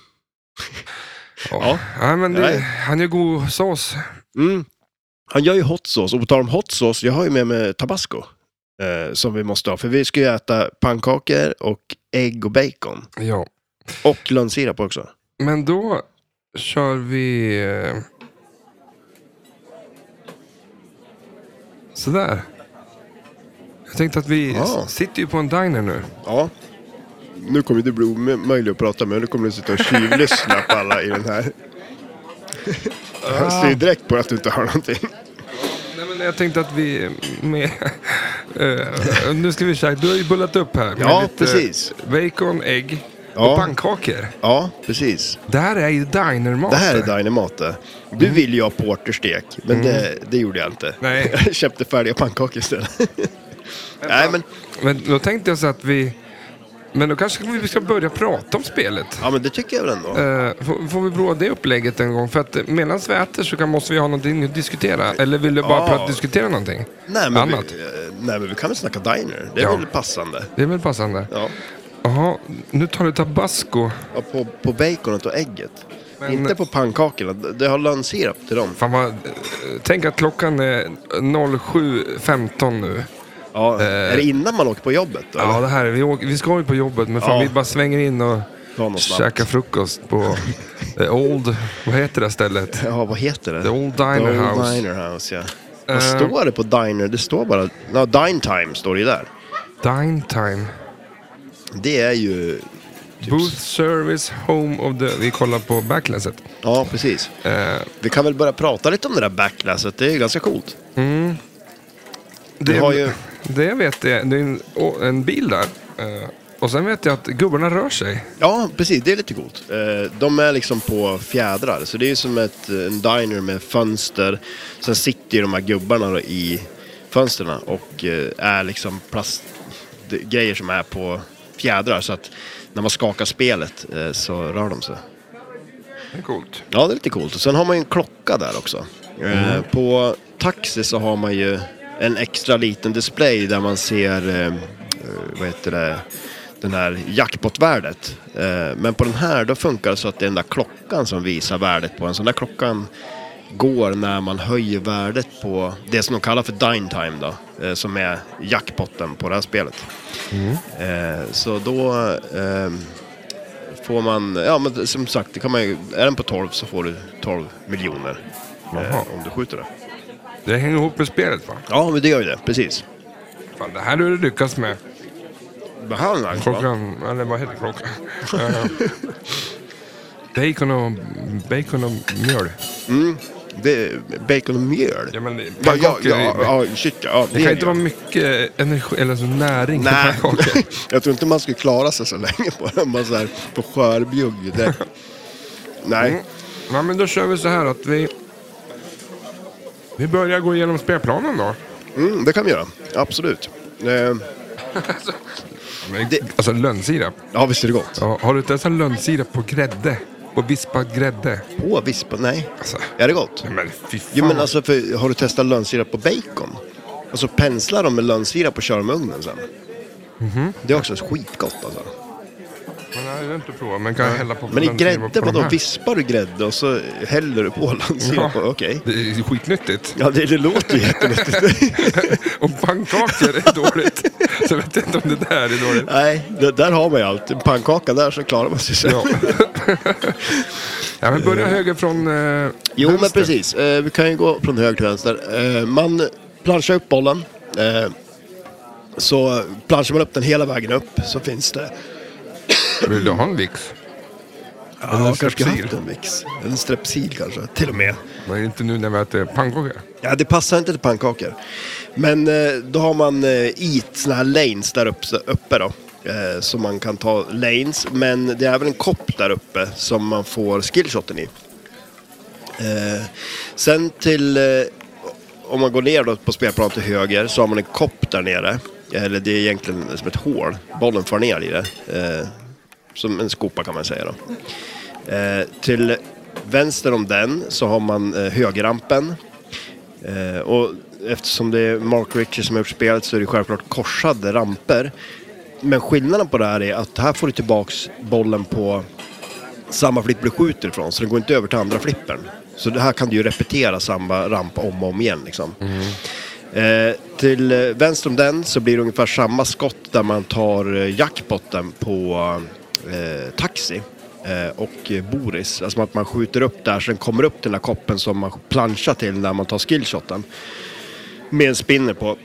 S1: Ja. Ja, men
S2: Nej.
S1: det, han är ju god sås.
S2: Mm. Han gör ju hot sauce, och på tal om hot sauce, jag har ju med mig tabasco. Eh, som vi måste ha, för vi ska ju äta pannkakor och ägg och bacon.
S1: Ja.
S2: Och lönnsirap också.
S1: Men då kör vi... eh, Sådär. Jag tänkte att vi
S2: Ja.
S1: s- sitter ju på en diner nu.
S2: Ja. Nu kommer det bli omöjligt att prata med, nu kommer du sitta och tjuvlyssna på alla i den här. Jag ser ju direkt på att du inte har någonting.
S1: Nej, men jag tänkte att vi... Med, eh, nu ska vi käka. Du har ju bullat upp här. med
S2: Ja, precis.
S1: Bacon, ägg
S2: Ja.
S1: och pannkakor.
S2: Ja, precis.
S1: Det här är ju dinermat.
S2: Det här är Dynamate.
S1: Mm.
S2: Du ville ju ha porterstek, men det, det gjorde jag inte.
S1: Nej.
S2: Jag köpte färdiga pannkakor istället. Nej, men,
S1: Men då tänkte jag så att vi... Men då kanske vi ska börja prata om spelet.
S2: ja, men det tycker jag väl ändå.
S1: Eh, får, får vi prova det upplägget en gång? För att medan vi äter så kan, måste vi ha någonting att diskutera. Eller vill du bara
S2: Ja.
S1: prata, diskutera någonting?
S2: Nej, men
S1: Annat.
S2: vi, eh, nej, men vi kan väl snacka diner. Det är
S1: Ja.
S2: väl passande.
S1: Det är väl passande.
S2: Ja.
S1: Jaha, nu tar du tabasco.
S2: Ja, på, på baconet och ägget.
S1: Men-
S2: Inte på pannkakorna. Det har lönnsirap till dem.
S1: Fan vad, eh, tänk att klockan är 07.15 nu.
S2: Ja, är det innan man åker på jobbet? Då,
S1: Eh. Ja,
S2: eller?
S1: det här är, vi, åker, vi ska ju på jobbet men fan
S2: Ja.
S1: vi bara svänger in och
S2: Ta något snabbt.
S1: käkar frukost på eh, Old... Vad heter det stället?
S2: Ja, vad heter det?
S1: The Old Diner
S2: The Old
S1: House.
S2: Diner House, ja. Vad
S1: Eh.
S2: står det på Diner? Det står bara... No, dine Time står det ju där.
S1: Dine time.
S2: Det är ju... Typ
S1: Booth service, home of the... Vi kollar på backlasset.
S2: Ja, precis.
S1: Eh,
S2: Vi kan väl börja prata lite om det där backlasset. Det är ju ganska coolt.
S1: det,
S2: har ju-
S1: det vet jag. Det är en, å- en bil där. Eh, och sen vet jag att gubbarna rör sig.
S2: Ja, precis. Det är lite coolt. Eh, De är liksom på fjädrar, så det är ju som ett, en diner med fönster. Sen sitter ju de här gubbarna då i fönstren och eh, är liksom plastgrejer som är på fjädrar. Så att när man skakar spelet eh, så rör de sig.
S1: Det är coolt.
S2: Ja, det är lite coolt. Och sen har man ju en klocka där också. Eh, På Taxi så har man ju en extra liten display där man ser, eh, eh, vad heter det, den här jackpotvärdet. Eh, men på den här då funkar det så att det är den där klockan som visar värdet på en. Så den där klockan går när man höjer värdet på det som de kallar för dine time då, eh, som är jackpotten på det här spelet. Eh, så då ehm, får man, ja men som sagt, det kan man ju, är den på 12 så får du 12 miljoner.
S1: Jaha.
S2: Eh, om du skjuter det.
S1: Det hänger ihop med spelet va?
S2: Ja, men det gör ju det, precis.
S1: Fan, det här har du lyckats med.
S2: Behandlar
S1: Klockan... Eller vad heter klockan? Eh, Bacon och, bacon och mjöl.
S2: Bacon och mjöl.
S1: Ja, men det,
S2: Ja, ja,
S1: pannkakor är-
S2: ja, ja, shit ja.
S1: det kan inte vara mycket energi eller så näring till
S2: Nej,
S1: pannkakor.
S2: jag tror inte man skulle klara sig så länge på den. Bara så här på skörbjugg direkt. Nej,
S1: Ja, men då kör vi så här att vi... Vi börjar gå igenom spelplanen då.
S2: mm, det kan vi göra. Absolut. Eh, Det-
S1: Alltså lönnsirap.
S2: ja, visst är det gott.
S1: Ja, har du testat lönnsirap på grädde? På vispad grädde?
S2: På vispa, nej.
S1: Alltså,
S2: Är det gott?
S1: nej men fy fan.
S2: Jo men alltså, för, har du testat lönnsirap på bacon? Alltså penslar de med lönnsirap och kör dem i ugnen sen.
S1: Mhm.
S2: Det är också skitgott alltså.
S1: Men nej, jag har inte provat, men kan jag hälla på
S2: Men i
S1: lönnsirap
S2: grädde,
S1: på de
S2: vadå?
S1: här?
S2: Vispar du grädde och så häller du på lönnsirap?
S1: Ja.
S2: på- Okej.
S1: Det är ju skitnyttigt.
S2: Ja, det, det låter ju jättenyttigt.
S1: Och pannkakor är dåligt. Så jag vet inte om det där är dåligt.
S2: Nej, det, där har man ju allt. En pannkaka där så klarar man sig sen.
S1: Ja. ja, men börja höger från eh,
S2: Jo, men
S1: vänster.
S2: precis. Eh, vi kan ju gå från höger till vänster. Eh, man planschar upp bollen. Eh, så planschar man upp den hela vägen upp så finns det
S1: Vill du ha en vix?
S2: Ja,
S1: en
S2: kanske
S1: strepsil.
S2: haft en mix. En strepsil kanske, till och med.
S1: Men inte nu när vi äter pannkakor.
S2: Ja, det passar inte till pannkakor. Men eh, då har man eh, eat, såna här lanes där upp, uppe då. Eh, så man kan ta lanes, men det är även en kopp där uppe som man får skillshoten i. Eh, sen till, eh, om man går ner då på spelplanen till höger så har man en kopp där nere. Eller det är egentligen som ett hål, bollen far ner i det. Eh, som en skopa kan man säga då. Eh, till vänster om den så har man eh, högerrampen. Eh, och eftersom det är Mark Ritchie som har gjort spelet så är det självklart korsade ramper. Men skillnaden på det här är att här får du tillbaks bollen på samma flipper du skjuter ifrån, så den går inte över till andra flippern. Så det här kan du ju repetera samma ramp om och om igen liksom. Eh, till eh, vänster om den så blir det ungefär samma skott där man tar eh, jackpotten på eh, Taxi eh, och eh, Boris. Alltså att man skjuter upp där så den kommer upp till den där koppen som man planchar till när man tar skillshoten. Med en spinner på.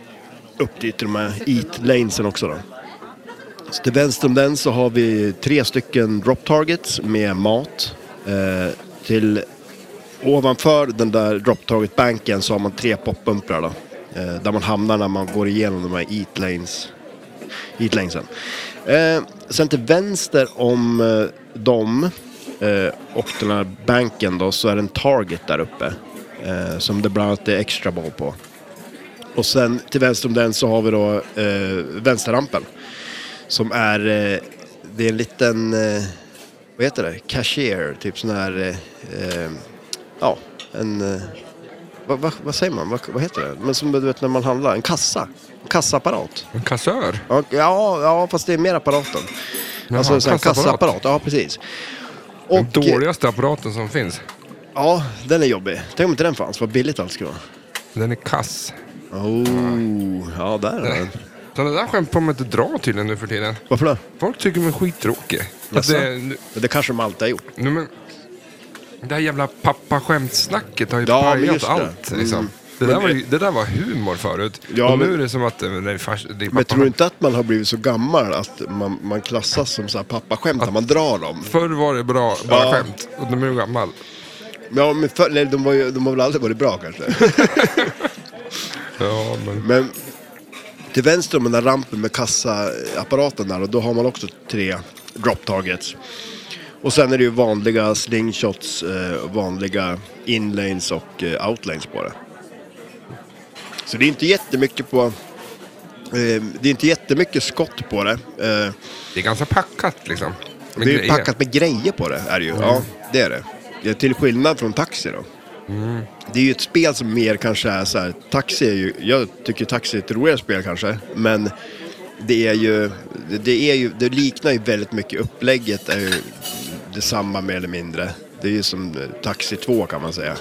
S2: Upp dit till de här eat lanesen också då. Så till vänster om den så har vi tre stycken drop targets med mat. Eh, till ovanför den där drop target banken så har man tre poppumprar då. Eh, där man hamnar när man går igenom de här eat lanes. Eat lanesen. Eh, sen till vänster om eh, dem eh, och den här banken då så är det en target där uppe. Eh, som det bland annat är extra ball på. Och sen till vänster om den så har vi då eh, vänsterrampen. Som är, eh, det är en liten, eh, vad heter det, cashier, typ sån här, eh, eh, ja, en, eh, vad, vad, vad säger man, vad, vad heter det? Men som du vet när man handlar, en kassa, en kassaapparat.
S1: En kassör?
S2: Ja, ja, fast det är mer apparaten. alltså en sån här
S1: kassaapparat.
S2: kassaapparat, ja precis.
S1: Den dåligaste apparaten som finns.
S2: Ja, den är jobbig. Tänk om inte den fanns, vad billigt allt skulle vara.
S1: Den är kass.
S2: Oh, ja där är den.
S1: Sådana där skämt får man inte dra tydligen nu för tiden.
S2: Varför då?
S1: Folk tycker man är skittråkig. Att
S2: Jaså?
S1: det,
S2: Det kanske de alltid har gjort.
S1: nu, men, det här jävla pappaskämtssnacket har ju
S2: Ja, men
S1: pajat
S2: just det.
S1: allt. Liksom.
S2: Mm.
S1: Det, där
S2: Men-
S1: var ju, det där var humor förut.
S2: Ja,
S1: och nu
S2: men-
S1: är det som att eh, det är, fars, det är
S2: Men
S1: pappa-
S2: tror du inte att man har blivit så gammal att man, man klassas som så här pappaskämt när man drar dem?
S1: Förr var det bra, bara
S2: Ja.
S1: skämt. Och nu är du gammal.
S2: Ja, men för, nej, de, var ju, de har väl aldrig varit bra kanske.
S1: Ja, men...
S2: Men till vänster om den där rampen med kassaapparaten där, och då har man också tre drop targets. Och sen är det ju vanliga slingshots, eh, vanliga inlanes och eh, outlanes på det. Så det är inte jättemycket på... Eh, det är inte jättemycket skott på det. Eh,
S1: Det är ganska packat liksom. Med
S2: det är ju
S1: grejer.
S2: packat med grejer på det, är det ju. Ja, det är det. det är till skillnad från Taxi då. Det är ju ett spel som mer kanske är så här, Taxi är ju, jag tycker Taxi är ett roligare spel kanske, men det är ju, det- det, är ju, det liknar ju väldigt mycket upplägget, är ju detsamma mer eller mindre. Det är ju som eh, Taxi 2 kan man säga.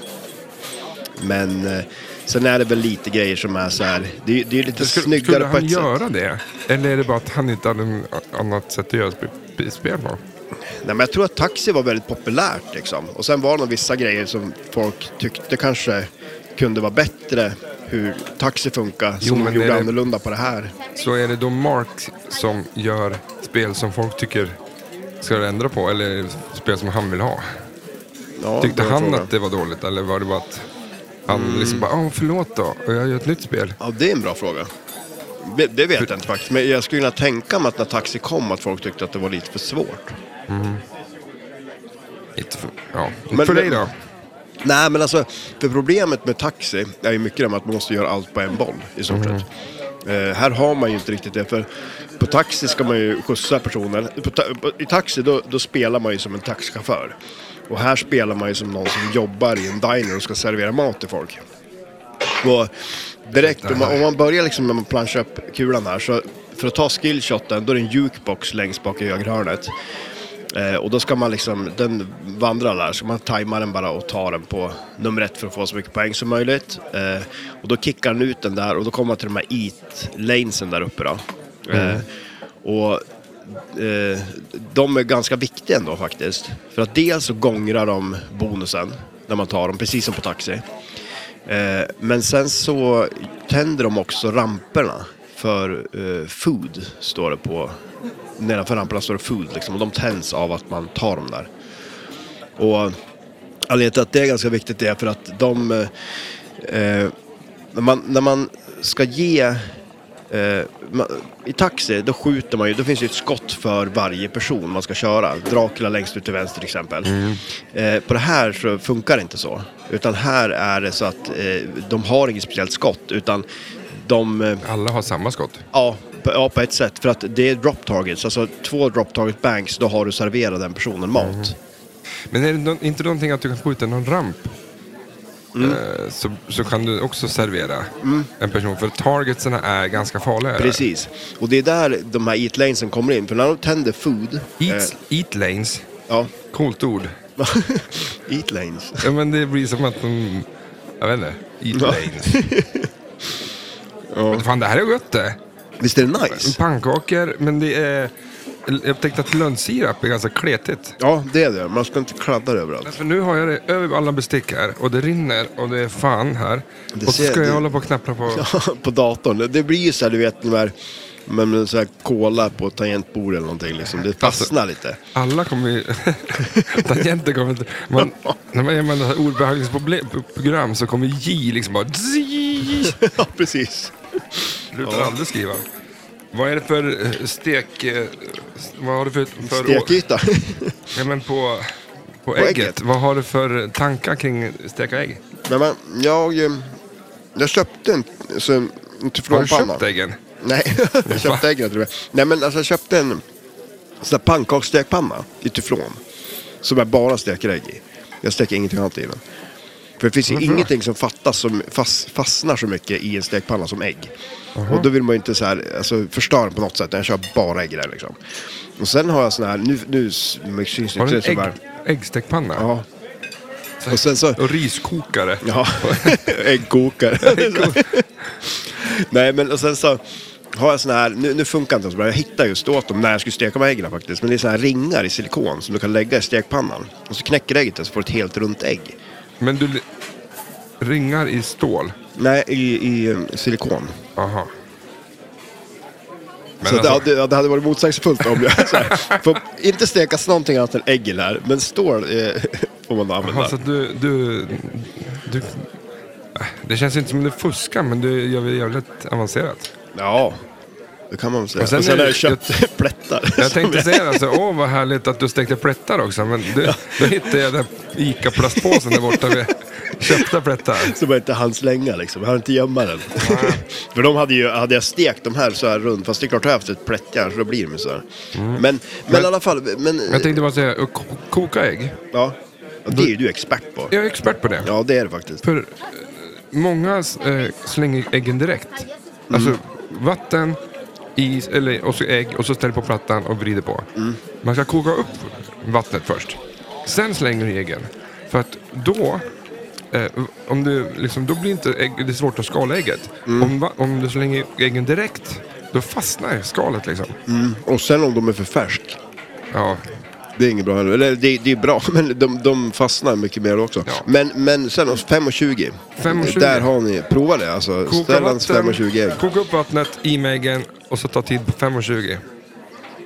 S2: Men eh, sen är det väl lite grejer som är så här, det, är- det är ju lite
S1: Skulle,
S2: snyggare
S1: skulle
S2: på
S1: han
S2: ett sätt.
S1: göra det? Eller är det bara att han inte hade något annat sätt att göra sp- spel på?
S2: Nej, men jag tror att taxi var väldigt populärt liksom. Och sen var det nog vissa grejer som folk tyckte kanske kunde vara bättre hur taxi funkar,
S1: Jo,
S2: som
S1: men
S2: de gjorde
S1: är det-
S2: annorlunda på det här.
S1: Så är det då Mark som gör spel som folk tycker ska du ändra på eller är det spel som han vill ha?
S2: Ja,
S1: Tyckte
S2: det var
S1: han
S2: frågan. Mm.
S1: att det var dåligt eller var det bara att han liksom bara, "Åh, förlåt då, och jag gör ett nytt spel.
S2: Ja, det är en bra fråga. Det, det vet jag inte faktiskt, men jag skulle kunna tänka mig att när taxi kom att folk tyckte att det var lite för svårt.
S1: Inte för, ja. Inte
S2: Men-
S1: för dig
S2: men-
S1: då?
S2: Nej, men alltså, för problemet med taxi är ju mycket det med att man måste göra allt på en boll i stort sett. Eh, här har man ju inte riktigt det, för på taxi ska man ju skjutsa personer. På ta- på, I taxi då, då spelar man ju som en taxichaufför. Och här spelar man ju som någon som jobbar i en diner och ska servera mat till folk. Och direkt, om man, om man börjar liksom när man planchar upp kulan här, så för att ta skillshoten, då är det en jukebox längst bak i högerhörnet. Eh, och då ska man liksom, den vandrar där, så man tajmar den bara och tar den på nummer ett för att få så mycket poäng som möjligt. Eh, och då kickar den ut den där och då kommer man till de här eat lanesen där uppe då. Eh, och eh, de är ganska viktiga ändå faktiskt. För att dels så gångrar de bonusen när man tar dem, precis som på taxi. Eh, men sen så tänder de också ramperna för eh, food, står det på. Nedanför ramperna står det food, liksom, och de tänds av att man tar dem där. Och anledningen till att det är ganska viktigt är för att de... eh, Eh, när, man, när man ska ge... Eh, ma- I taxi, då skjuter man ju, då finns det ju ett skott för varje person man ska köra. Dracula längst ut till vänster till exempel. Eh, på det här så funkar det inte så. Utan här är det så att eh, de har inget speciellt skott, utan de... Eh,
S1: Alla har samma skott.
S2: Ja, ja, på ett sätt. För att det är drop targets, alltså två drop target banks, då har du serverat den personen mat.
S1: Men är det nå- inte någonting att du kan skjuta någon ramp?
S2: Mm.
S1: Eh, Så, så kan du också servera en person. För targetsarna är ganska farliga.
S2: Precis. Och det är där de här eat lanesen kommer in. För när de tänder food...
S1: Eat,
S2: eh,
S1: eat lanes.
S2: ja.
S1: Coolt ord.
S2: eat lanes.
S1: Ja, men det blir som att de... Jag vet inte. Eat
S2: Ja.
S1: lanes. Men fan, det här eh. är gött det.
S2: Visst är det nice?
S1: Pannkakor, men det är... Jag upptäckte att lönnsirap är ganska kletigt.
S2: Ja, det är det. Man ska inte kladda det
S1: Nej,
S2: överallt.
S1: För nu har jag det över alla bestick här och det rinner och det är fan här.
S2: Det
S1: och så
S2: ser-
S1: ska jag
S2: det-
S1: hålla på och knappra på...
S2: på datorn. Det blir ju så här, du vet, de här... Men med så här kola på ett tangentbord eller någonting liksom.
S1: Alltså-
S2: Det fastnar lite.
S1: Alla kommer ju... Tangenter kommer inte... Man, när man använder så här ordbehandlingsprogram så kommer J liksom bara... Zzz,
S2: ja, precis.
S1: Slutar aldrig skriva. Vad är det för eh, stek... eh, s- Vad har du för... för
S2: Stekyta.
S1: Ja, men på, på, ägget.
S2: ägget.
S1: Vad har du för tankar kring steka ägg?
S2: Nej, men jag... eh, Jag köpte en... Så, en
S1: Har du
S2: teflonpanna.
S1: köpt äggen?
S2: Nej, jag köpte äggen till och med. Nej, men alltså jag köpte en sån där pannkakstekpanna i teflon. Som jag bara steker ägg i. Jag steker ingenting annat i den. För det finns ju ingenting som fattas som fast, fastnar så mycket i en stekpanna som ägg. Och då vill man ju inte så här, alltså, förstöra den på något sätt. Jag kör bara ägg där liksom. Och sen har jag sån här, nu, nu men syns det
S1: Har du
S2: inte. det är
S1: en
S2: så
S1: ägg,
S2: bara-
S1: äggstekpanna?
S2: Ja. Och sen så...
S1: Och riskokare?
S2: Ja, äggkokare. Nej, men och sen så har jag såna här, nu, nu funkar inte de så bra, jag hittade just åt dem när jag skulle steka de här äggen faktiskt. Men det är såna här ringar i silikon som du kan lägga i stekpannan. Och så knäcker ägget och så får du ett helt runt ägg.
S1: Men du... li- Ringar i stål?
S2: Nej, i, i eh, silikon.
S1: Aha. Men
S2: så
S1: alltså,
S2: det, hade, ja, det hade varit motsägelsefullt om jag så här, får inte stekas någonting annat än äggen här, men stål eh, får man då använda.
S1: alltså du, du, du... Äh, Det känns inte som du fuskar, men du gör det jävligt avancerat.
S2: Ja, det kan man väl säga.
S1: Och
S2: Och
S1: sen
S2: sen,
S1: är det-
S2: har jag köpt plättar.
S1: Jag tänkte säga alltså, åh vad härligt att du stekte plättar också, men du, då hittade jag den ICA-plastpåsen där borta med köpta plättar.
S2: Så man inte hann slänga liksom, jag hann inte gömma den. För de hade ju, hade jag stekt de här så här runt, fast det är klart har jag haft ett plättjärn så då blir de ju så här. Men, Mm. men, i alla fall, men...
S1: Jag tänkte bara säga, och ko- koka ägg.
S2: Ja, Ja, det är ju du expert på.
S1: Jag är expert på det.
S2: Ja, det är det faktiskt.
S1: För eh, många eh, slänger äggen direkt. Alltså vatten, is eller, och så ägg och så ställer på plattan och vrider på. Man ska koka upp vattnet först. Sen slänger du äggen. För att då, eh, om du, liksom, då blir inte ägg, det är svårt att skala ägget. Om, va- om du slänger äggen direkt, då fastnar skalet liksom.
S2: Och sen om de är för färsk,
S1: Ja,
S2: det är inget bra heller. Eller det, det är bra, men de, de fastnar mycket mer också.
S1: Ja.
S2: Men, men sen 5.20,
S1: 5,20.
S2: där har ni, prova det alltså.
S1: koka,
S2: Stellans
S1: vatten,
S2: 5.20 ägg,
S1: koka upp vattnet i med äggen och så ta tid på 5.20.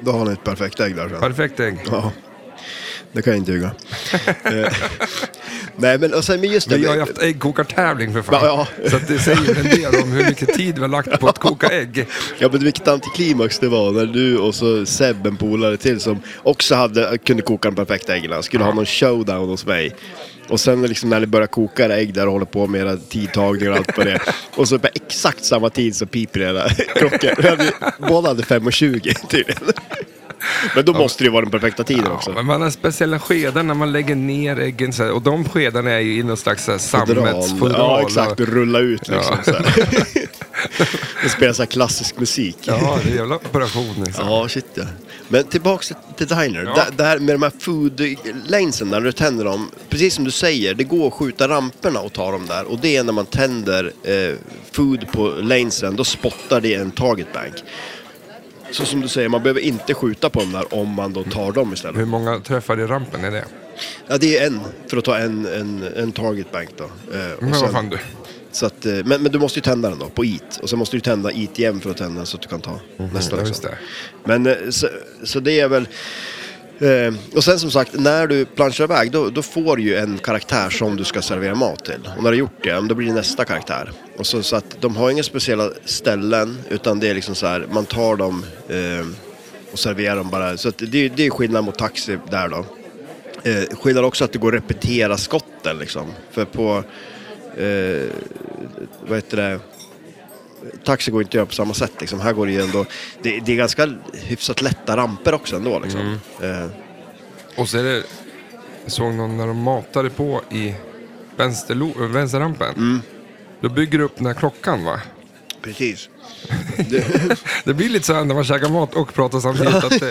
S2: då har ni ett perfekt ägg där sen.
S1: Perfekt ägg.
S2: Ja, det kan jag inte ljuga. Eh, Nej, men och sen, men just det.
S1: Vi har ju haft äggkokartävling för fan.
S2: Ja, ja.
S1: Så att det säger ju en del om hur mycket tid vi har lagt på att koka ägg.
S2: Ja men vilket antiklimax det var när du och så Seb, en polare till som också hade, kunde koka de perfekta äggen. Han Skulle ha någon showdown hos mig. Och sen liksom när ni börjar koka era ägg där och håller på med era tidtagningar och allt på det. Och så på exakt samma tid så piper era klockor. Vi hade- Båda hade 5.20 tydligen. Men då måste det ju vara den perfekta tiden
S1: Ja,
S2: också.
S1: men man har speciella skeden när man lägger ner äggen. Så här, och de skedarna är ju i någon slags så här
S2: Dral.
S1: sammetsfodral.
S2: Ja exakt, och rulla ut liksom.
S1: Ja.
S2: så här. Och spela så här klassisk musik.
S1: Ja, det är en jävla operation. Liksom.
S2: Ja, shit ja. Men tillbaks till- till Diner. Där, där med de här food lanesen, när du tänder dem. Precis som du säger, det går att skjuta ramperna och ta dem där. Och det är när man tänder eh, food på lanesen, då spottar det en target bank. Så som du säger, man behöver inte skjuta på dem där om man då tar dem istället.
S1: Hur många träffar i rampen är det?
S2: Ja, det är en, för att ta en, en, en target bank då. Eh, och
S1: Men
S2: sen-
S1: vad fan du.
S2: så att, eh, men, men du måste ju tända den då, på EAT. Och sen måste du tända EAT igen för att tända den så att du kan ta nästa.
S1: Mhm, ja,
S2: Liksom.
S1: just det.
S2: Men eh, så, så det är väl... Eh, och sen som sagt, när du planschar iväg då, då får du ju en karaktär som du ska servera mat till. Och när du gjort det, då blir det nästa karaktär. Och så, så att de har inga speciella ställen, utan det är liksom så här, man tar dem eh, och serverar dem bara. Så att det, det är skillnad mot taxi där då. Eh, skillnad också att det går att repetera skotten liksom. För på, eh, vad heter det, taxi går inte att göra på samma sätt. Liksom. Här går det ju ändå... Det, det är ganska hyfsat lätta ramper också ändå. Liksom. Eh,
S1: Och så är det, jag såg någon när de matade på i vänsterlo- vänsterrampen.
S2: Mm.
S1: Då bygger du upp den här klockan va?
S2: precis.
S1: Det blir lite så här när man käkar mat och pratar samtidigt. att det,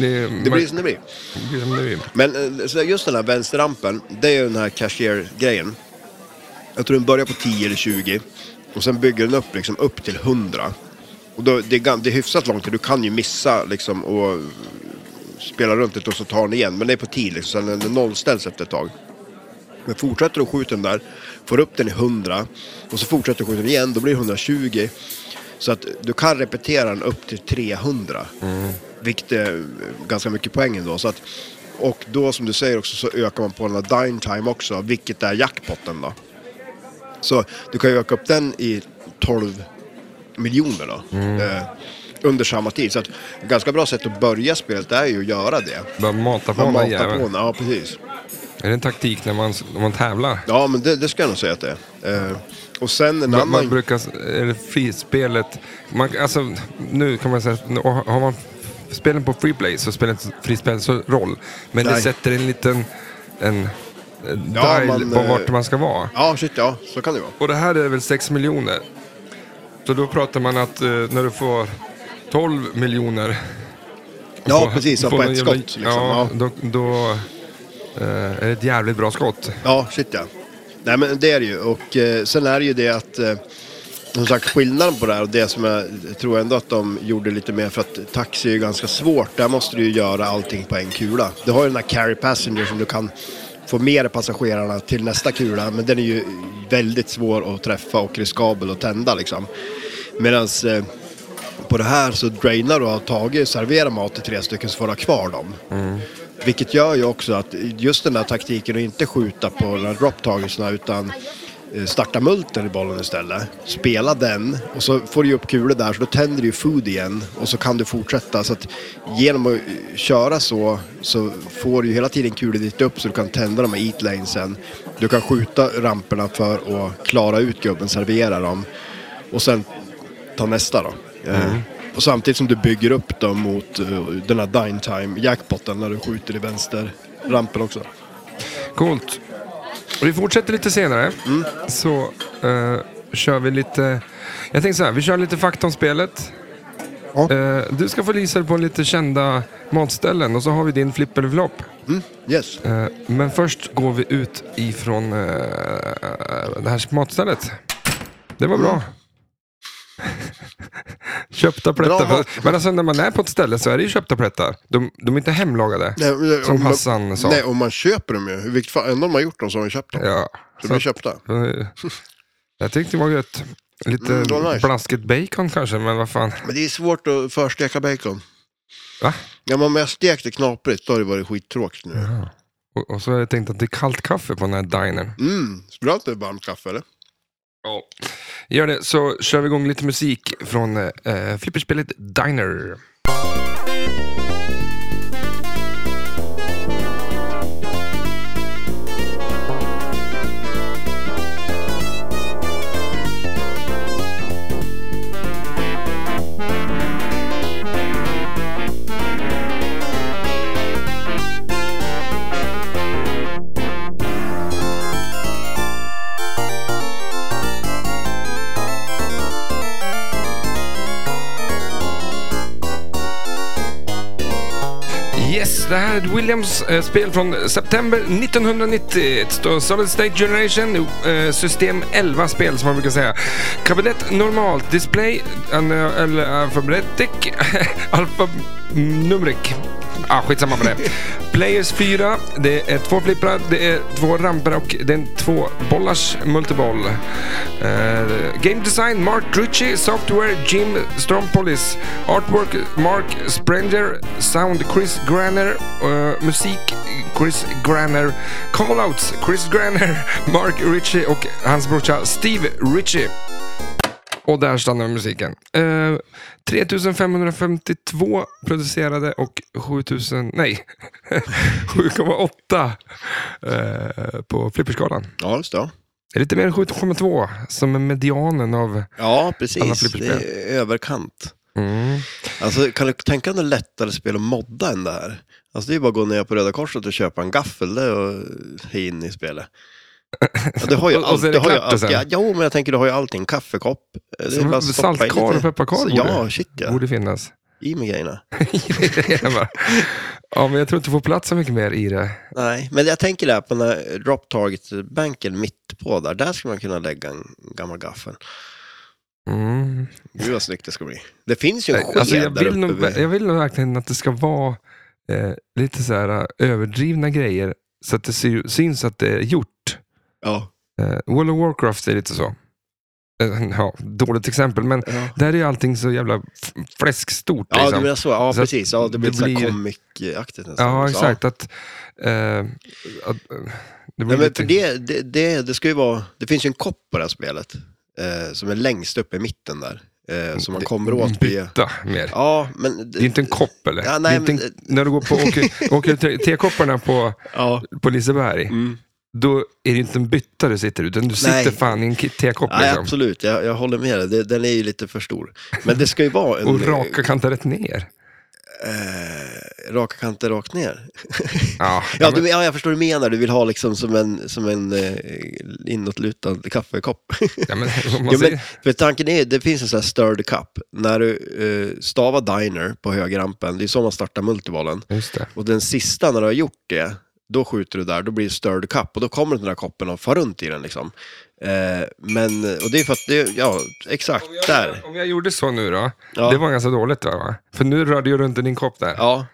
S1: det,
S2: Det
S1: man,
S2: blir som det blir.
S1: det blir som det blir.
S2: Men eh, så just den här vänsterrampen, det är ju den här cashier-grejen. Jag tror den börjar på 10 eller 20 och sen bygger den upp, liksom, upp till 100. Och då, det, är, gan- det är hyfsat långt, du kan ju missa liksom, och spela runt lite och så tar den igen. Men det är på 10, liksom, sen är den nollställs efter ett tag. Men fortsätter du att skjuta den där, får upp den i 100 och så fortsätter du skjuta den igen, då blir det 120. Så att du kan repetera den upp till 300. Vilket är ganska mycket poäng ändå. Så att, och då som du säger också så ökar man på den här dine time också, vilket är jackpotten då. Så du kan ju öka upp den i 12 miljoner då. Eh, under samma tid. Så att ett ganska bra sätt att börja spelet är ju att göra det.
S1: Bara mata på
S2: Man
S1: den där
S2: matar på
S1: jäveln.
S2: den, ja precis.
S1: Är det en taktik när man, när man tävlar?
S2: Ja, men det, det ska jag nog säga att det är. Eh, och sen en
S1: Man, man
S2: annan...
S1: brukar, eller frispelet, man, alltså nu kan man säga, att- och har man spelen på freeplay så spelar inte frispel så roll. Men det
S2: Nej.
S1: sätter en liten, en, en
S2: Ja,
S1: dial
S2: man,
S1: på
S2: eh,
S1: vart man ska vara.
S2: Ja, shit ja, så kan det vara.
S1: Och det här är väl 6 miljoner. Så då pratar man att eh, när du får 12 miljoner.
S2: Ja,
S1: får-
S2: precis, ja,
S1: får
S2: på
S1: någon
S2: ett
S1: jävla-
S2: skott, liksom,
S1: Ja, då,
S2: ja.
S1: då eh, är det ett jävligt bra skott.
S2: Ja, shit ja. Nej men det är det ju. Och eh, sen är det ju det att eh, som sagt skillnaden på det här och det som jag tror ändå att de gjorde lite mer för att taxi är ju ganska svårt. Där måste du ju göra allting på en kula. Du har ju den här carry passenger som du kan få med dig passagerarna till nästa kula. Men den är ju väldigt svår att träffa och riskabel att tända liksom. Medan eh, på det här så drainar du och har tagit, serverar mat till tre stycken så får du ha kvar dem. Vilket gör ju också att just den där taktiken att inte skjuta på de här dropptagelserna utan eh, starta multen i bollen istället. Spela den och så får du ju upp kulor där så då tänder du ju food igen och så kan du fortsätta. Så att genom att eh, köra så så får du ju hela tiden kulor dit upp så du kan tända de här eat lanesen. Du kan skjuta ramperna för att klara ut gubben, servera dem och sen ta nästa då. Eh,
S1: Mm.
S2: Och samtidigt som du bygger upp dem mot eh, den här dine time jackpotten när du skjuter i vänster rampen också.
S1: Coolt. Och Vi fortsätter lite senare.
S2: Mm.
S1: Så eh, kör vi lite... Jag tänkte så här, vi kör lite fakta om spelet.
S2: Ja.
S1: Eh, du ska få lysa på lite kända matställen och så har vi din flipp eller flopp.
S2: Mm. Yes.
S1: Eh, men först går vi ut ifrån eh, det här matstället. Det var
S2: Mm.
S1: bra. köpta plättar.
S2: Bra.
S1: Men alltså när man är på ett ställe så är det ju köpta plättar. De, de är inte hemlagade.
S2: Nej, men-
S1: Som
S2: om man-
S1: Hassan sa.
S2: Nej, och man köper dem ju. I vilket fall, ändå om man gjort dem så har man köpt dem.
S1: Ja.
S2: Så de
S1: Så
S2: blir
S1: att-
S2: köpta.
S1: Eh, Jag tyckte det var gött. Lite
S2: Mm, det var nice.
S1: blasket bacon kanske, men vad fan.
S2: Men det är svårt att försteka bacon.
S1: Va?
S2: Ja, men om jag stekt det knaprigt då har det varit skittråkigt nu.
S1: Och, och så har jag tänkt att det är kallt kaffe på den här dinern.
S2: Mm, så bra att det är varmt kaffe eller?
S1: Gör det, så kör vi igång lite musik från eh, flipperspelet Diner. Yes, det här är ett Williams eh, spel från september 1990. Ett stå- Solid State Generation, eh, system 11-spel som man brukar säga. Kabinett normalt, display, an- eller alfabetic, alfanumeric. Ah, skitsamma med det. Players 4, det är två flipprar, det är två ramper och det är en två bollars multiboll. Eh, game design Mark Drucci, software Jim Strompolis, artwork Mark Sprenger, sound Chris Granner, eh, musik Chris Granner, callouts Chris Granner, Mark Ritchie och hans brorsa Steve Ritchie. Och där stannar musiken. Eh, 3552 producerade och 7000, nej, 7,8 eh, på flipperskalan.
S2: Ja, just det. ja.
S1: Det är lite mer än 7,2 som är medianen av...
S2: Ja,
S1: Alla
S2: precis. Det
S1: flipperspel.
S2: är överkant.
S1: Mm.
S2: Alltså, kan du tänka dig något lättare spel att modda än det här? Alltså, det är ju bara att gå ner på Röda Korset och köpa en gaffel det och ha in i spelet. Ja, du har ju
S1: Och- och
S2: allt.
S1: så är
S2: Du
S1: det
S2: har ju
S1: klart och
S2: allt.
S1: sen.
S2: Ja, jo, men jag tänker du har ju allting. Kaffekopp. Det är
S1: Som
S2: bara att stoppa i
S1: saltkar
S2: lite-
S1: och pepparkar
S2: Så-
S1: borde.
S2: Ja, shit ja.
S1: Borde finnas.
S2: I med grejerna.
S1: Jag bara, ja, men jag tror inte får plats så mycket mer i det.
S2: Nej, men jag tänker där på den här drop target-bänken mitt på där. Där skulle man kunna lägga en gammal gaffel.
S1: Mm.
S2: Gud vad snyggt det ska bli. Det finns ju en sked
S1: Alltså, jag,
S2: där
S1: vill
S2: uppe.
S1: nog,
S2: vid-
S1: jag vill nog verkligen att det ska vara eh, lite så här eh, överdrivna grejer så att det sy- syns att det är gjort.
S2: Ja.
S1: Eh, World of Warcraft är lite så. Eh, ja, dåligt exempel, men
S2: Ja.
S1: där är ju allting så jävla f- fläskstort.
S2: Ja, du
S1: liksom.
S2: menar så. Ja,
S1: Så att
S2: precis. Ja, det blir
S1: det
S2: så
S1: blir-
S2: här comic-aktigt nästan.
S1: ja
S2: Så,
S1: exakt. Att, eh, att, eh, det blir
S2: Nej, men
S1: lite-
S2: för det, det, det, det ska ju vara... Det finns ju en kopp på det här spelet. Eh, som är längst upp i mitten där. Eh, som man kommer åt via...
S1: byta mer.
S2: Ja, men...
S1: Det är inte en kopp eller?
S2: Ja, nej,
S1: det är inte en,
S2: men- eh,
S1: När du går på åker, åker te- tekopparna på,
S2: Ja.
S1: på Liseberg, då är det inte en bytta du sitter i, utan du sitter
S2: Mm. Nej.
S1: fan i en ki- tekopp.
S2: Nej,
S1: liksom.
S2: absolut. Jag, jag håller med dig. Det- Den är ju lite för stor. Men det ska ju vara en...
S1: Och raka kanter rätt ner.
S2: Eh, raka kanter rakt ner.
S1: Ja,
S2: Ja,
S1: men-
S2: du, ja, jag förstår vad du menar. Du vill ha liksom som en, som en eh, inåtlutad kaffekopp.
S1: ja, men, om man
S2: Jo, men,
S1: säger,
S2: för tanken är, det finns en sån här stirred cup. När du eh, stavar diner på högerrampen, det är så man startar multibollen.
S1: just det.
S2: Och den sista, när du har gjort det, då skjuter du där, då blir det stirred cup. Och då kommer den där koppen och far runt i den liksom. Eh, men, och det är för att, det, ja, exakt, där.
S1: Om jag gjorde så nu då,
S2: Ja.
S1: det var ganska dåligt va, va? För nu rörde ju runt i din kopp där.
S2: Ja.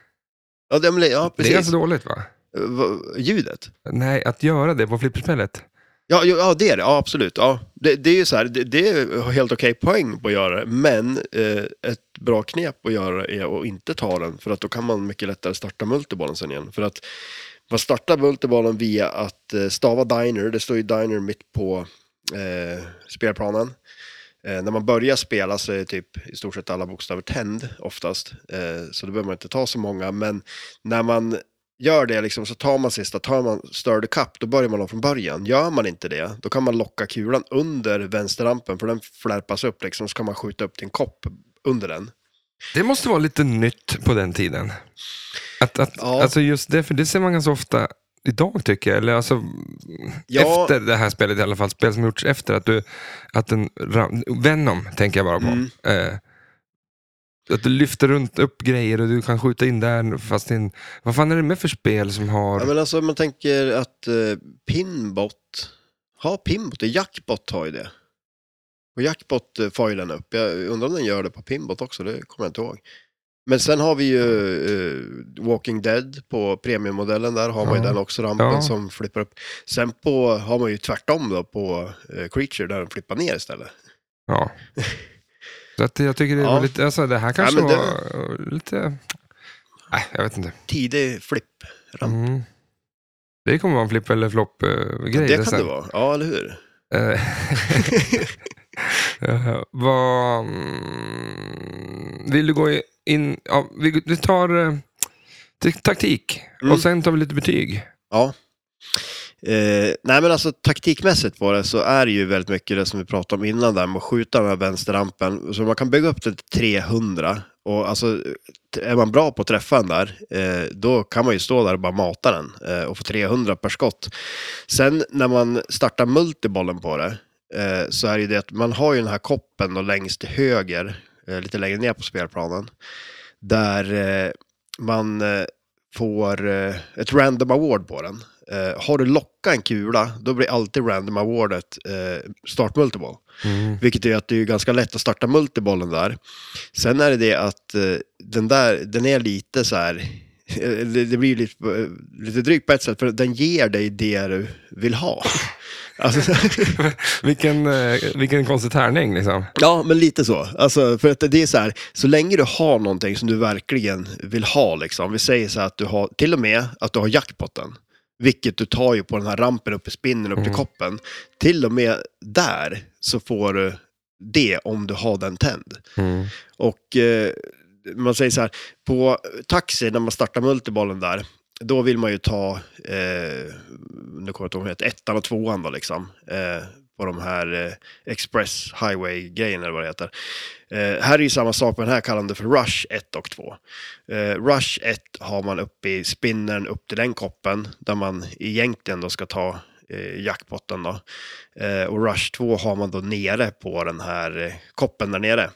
S2: Ja, det, men- ja,
S1: det är
S2: precis.
S1: ganska dåligt va?
S2: Eh, vad- Ljudet.
S1: Nej, att göra det på flipperspelet.
S2: Ja, jo, ja, det är det. Ja, absolut. Ja. Det, det är ju så här, det, det är helt okej poäng på att göra det, men eh, ett bra knep att göra är att inte ta den, för att då kan man mycket lättare starta multibollen sen igen. För att man startar multibollen via att eh, stava diner, det står ju diner mitt på eh, spelplanen. Eh, när man börjar spela så är typ i stort sett alla bokstäver tänd oftast, eh, så då behöver man inte ta så många, men när man gör det liksom, så tar man sista, tar man stirred cup, då börjar man om från början. Gör man inte det, då kan man locka kulan under vänsterrampen, för den flärpas upp liksom, så kan man skjuta upp till en kopp under den.
S1: Det måste vara lite nytt på den tiden. Att, att,
S2: Ja.
S1: Alltså just det, för det ser man ganska ofta idag tycker jag. Eller alltså,
S2: Ja.
S1: Efter det här spelet i alla fall, spel som gjorts efter att du... Att en, ram- Venom tänker jag bara på.
S2: Mm.
S1: Eh, att du lyfter runt upp grejer och du kan skjuta in där fast in... Vad fan är det med för spel som har...
S2: Ja, men alltså man tänker att eh, pinbot, har pinbot det? Jackbot har ju det. Och jackbot eh, far ju den upp. Jag undrar om den gör det på pinbot också, det kommer jag inte ihåg. Men sen har vi ju eh, Walking Dead på premiummodellen där, har man ju
S1: Ja.
S2: den också, rampen
S1: Ja.
S2: som flippar upp. Sen på, har man ju tvärtom då på eh, Creature där den flippar ner istället.
S1: Ja. Så att jag tycker det var
S2: Ja.
S1: lite... Alltså det här kanske
S2: men det-
S1: var eh, lite... Nej, jag vet inte.
S2: Tidig flipp. ramp.
S1: Mm. Det kommer vara en flipp eller flopp-grej.
S2: det kan det vara, ja eller hur?
S1: Eh, eh, Vad... mm, Vill du gå i- in... Ja, vi, vi tar eh, t- taktik
S2: Mm.
S1: och sen tar vi lite betyg.
S2: Ja. Eh, nej men alltså taktikmässigt på det så är det ju väldigt mycket det som vi pratade om innan där med att skjuta den här vänsterrampen. Så man kan bygga upp den till 300 och alltså t- är man bra på att träffa den där eh, då kan man ju stå där och bara mata den eh, och få 300 per skott. Sen när man startar multibollen på det eh, så är det ju det att man har ju den här koppen och längst till höger eh, lite längre ner på spelplanen där eh, man eh, får eh, ett random award på den. Eh, har du lockat en kula, då blir alltid random awardet eh, start multiboll. Vilket är att det är ju ganska lätt att starta multibollen där. Sen är det det att eh, den där, den är lite så här, eh, det det blir ju lite, eh, lite drygt på ett sätt, för den ger dig det du vill ha. Alltså,
S1: vilken, eh, vilken konstig tärning liksom.
S2: Ja, men lite så. Alltså, för att det är så här, så länge du har någonting som du verkligen vill ha, liksom. vi säger så här att du har, till och med att du har jackpotten, vilket du tar ju på den här rampen upp i spinnen, upp till koppen, till och med där så får du det om du har den tänd. Och eh, man säger så här, på taxi när man startar multibollen där, då vill man ju ta, eh, nu kommer jag inte ihåg vad det heter, ettan och tvåan då liksom. Eh, på de här eh, Express Highway-grejerna eller vad det heter. Eh, här är ju samma sak, men här kallar de det för Rush 1 och 2. Eh, Rush 1 har man uppe i spinnern upp till den koppen där man egentligen då ska ta eh, jackpotten då. Eh, och Rush 2 har man då nere på den här eh, koppen där nere.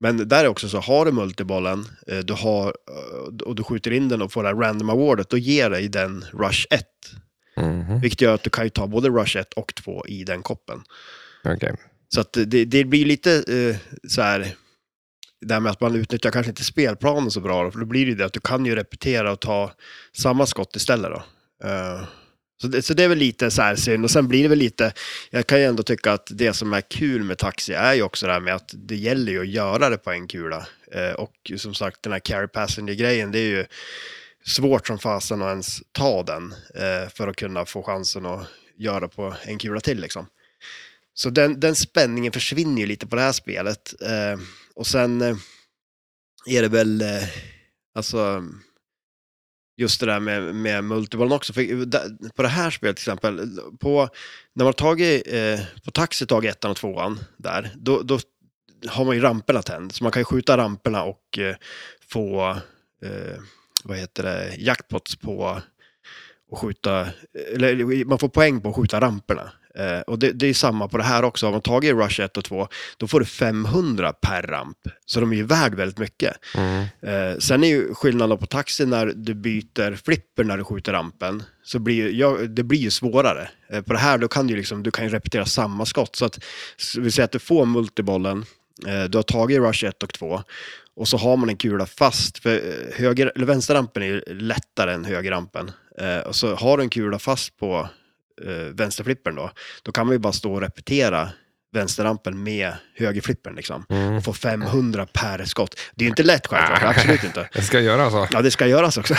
S2: Men där är också så, har du multibollen eh, du har, eh, och du skjuter in den och får det här random awardet, då ger dig den Rush 1.
S1: Mhm.
S2: Vilket gör att du kan ju ta både Rush 1 och 2 i den koppen.
S1: Okej.
S2: Så att det, det blir lite eh, så här, det här med att man utnyttjar kanske inte spelplanen så bra, då, för då blir det ju det att du kan ju repetera och ta samma skott istället då. Eh, så, det, så det är väl lite så här synd, och sen blir det väl lite, jag kan ju ändå tycka att det som är kul med taxi är ju också det här med att det gäller ju att göra det på en kula. Eh, och som sagt, den här carry passenger-grejen, det är ju svårt som fasen att ens ta den eh, för att kunna få chansen att göra på en kula till liksom. Så den, den spänningen försvinner ju lite på det här spelet. Eh, och sen eh, är det väl, eh, alltså, just det där med, med multibollen också. För, eh, där- på det här spelet till exempel, på, när man har tagit, eh, på taxi tagit ettan och tvåan där, då, då har man ju ramperna tänd. Så man kan ju skjuta ramperna och eh, få, eh, vad heter det, jackpots på och skjuta, eller man får poäng på att skjuta ramperna. Eh, och det, det är samma på det här också, har man tagit Rush 1 och 2, då får du 500 per ramp. Så de är ju värd väldigt mycket. Eh, sen är ju skillnaden på taxi när du byter flipper när du skjuter rampen, så blir ju, ja, det blir ju svårare. Eh, på det här då kan du, ju liksom, du kan ju repetera samma skott, så att så vi säger att du får multibollen, eh, du har tagit Rush 1 och 2, och så har man en kula fast, för eh, höger, eller vänsterrampen är ju lättare än högerrampen. Eh, och så har du en kula fast på eh, vänsterflippern då, då kan man ju bara stå och repetera vänsterrampen med högerflippern liksom.
S1: Mm.
S2: Och få 500 per skott. Det är ju inte lätt självklart, absolut inte.
S1: Jag ska göra alltså.
S2: Ja, det ska göras också.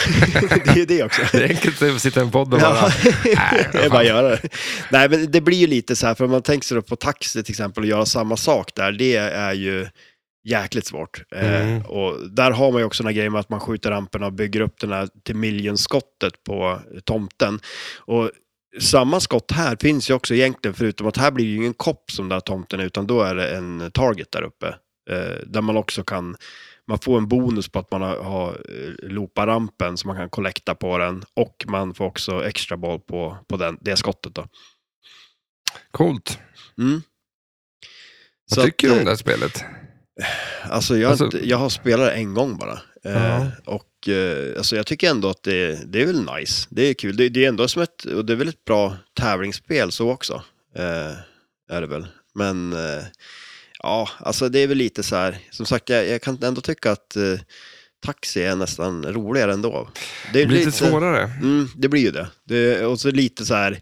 S2: det är ju det också.
S1: Det är enkelt att sitta i en podd och bara...
S2: Ja.
S1: Nej,
S2: det är bara att göra det. Nej, men det blir ju lite så här, för om man tänker sig då på taxi till exempel och göra samma sak där, det är ju jäkligt svårt.
S1: Mm.
S2: Eh, och där har man ju också den här grejen med att man skjuter ramperna och bygger upp den här till miljonskottet på tomten. Och samma skott här finns ju också egentligen, förutom att här blir det ju ingen kopp som den här tomten är, utan då är det en target där uppe. Eh, där man också kan, man får en bonus på att man har, har eh, loopat rampen så man kan kollekta på den och man får också extra boll på, på den, det skottet då.
S1: Coolt.
S2: Mm.
S1: Vad tycker du om
S2: eh,
S1: det här spelet?
S2: Alltså jag, har
S1: Alltså-
S2: inte, jag har spelat en gång bara. Eh,
S1: Ja.
S2: Och eh, alltså jag tycker ändå att det, det är väl nice. Det är kul. Det, det är ändå som ett, och det är väl ett bra tävlingsspel så också. Eh, är det väl. Men eh, ja, alltså det är väl lite så här. Som sagt, jag, jag kan ändå tycka att eh, taxi är nästan roligare ändå. är
S1: Det blir lite svårare.
S2: Mm, det blir ju det. det. Och så lite så här,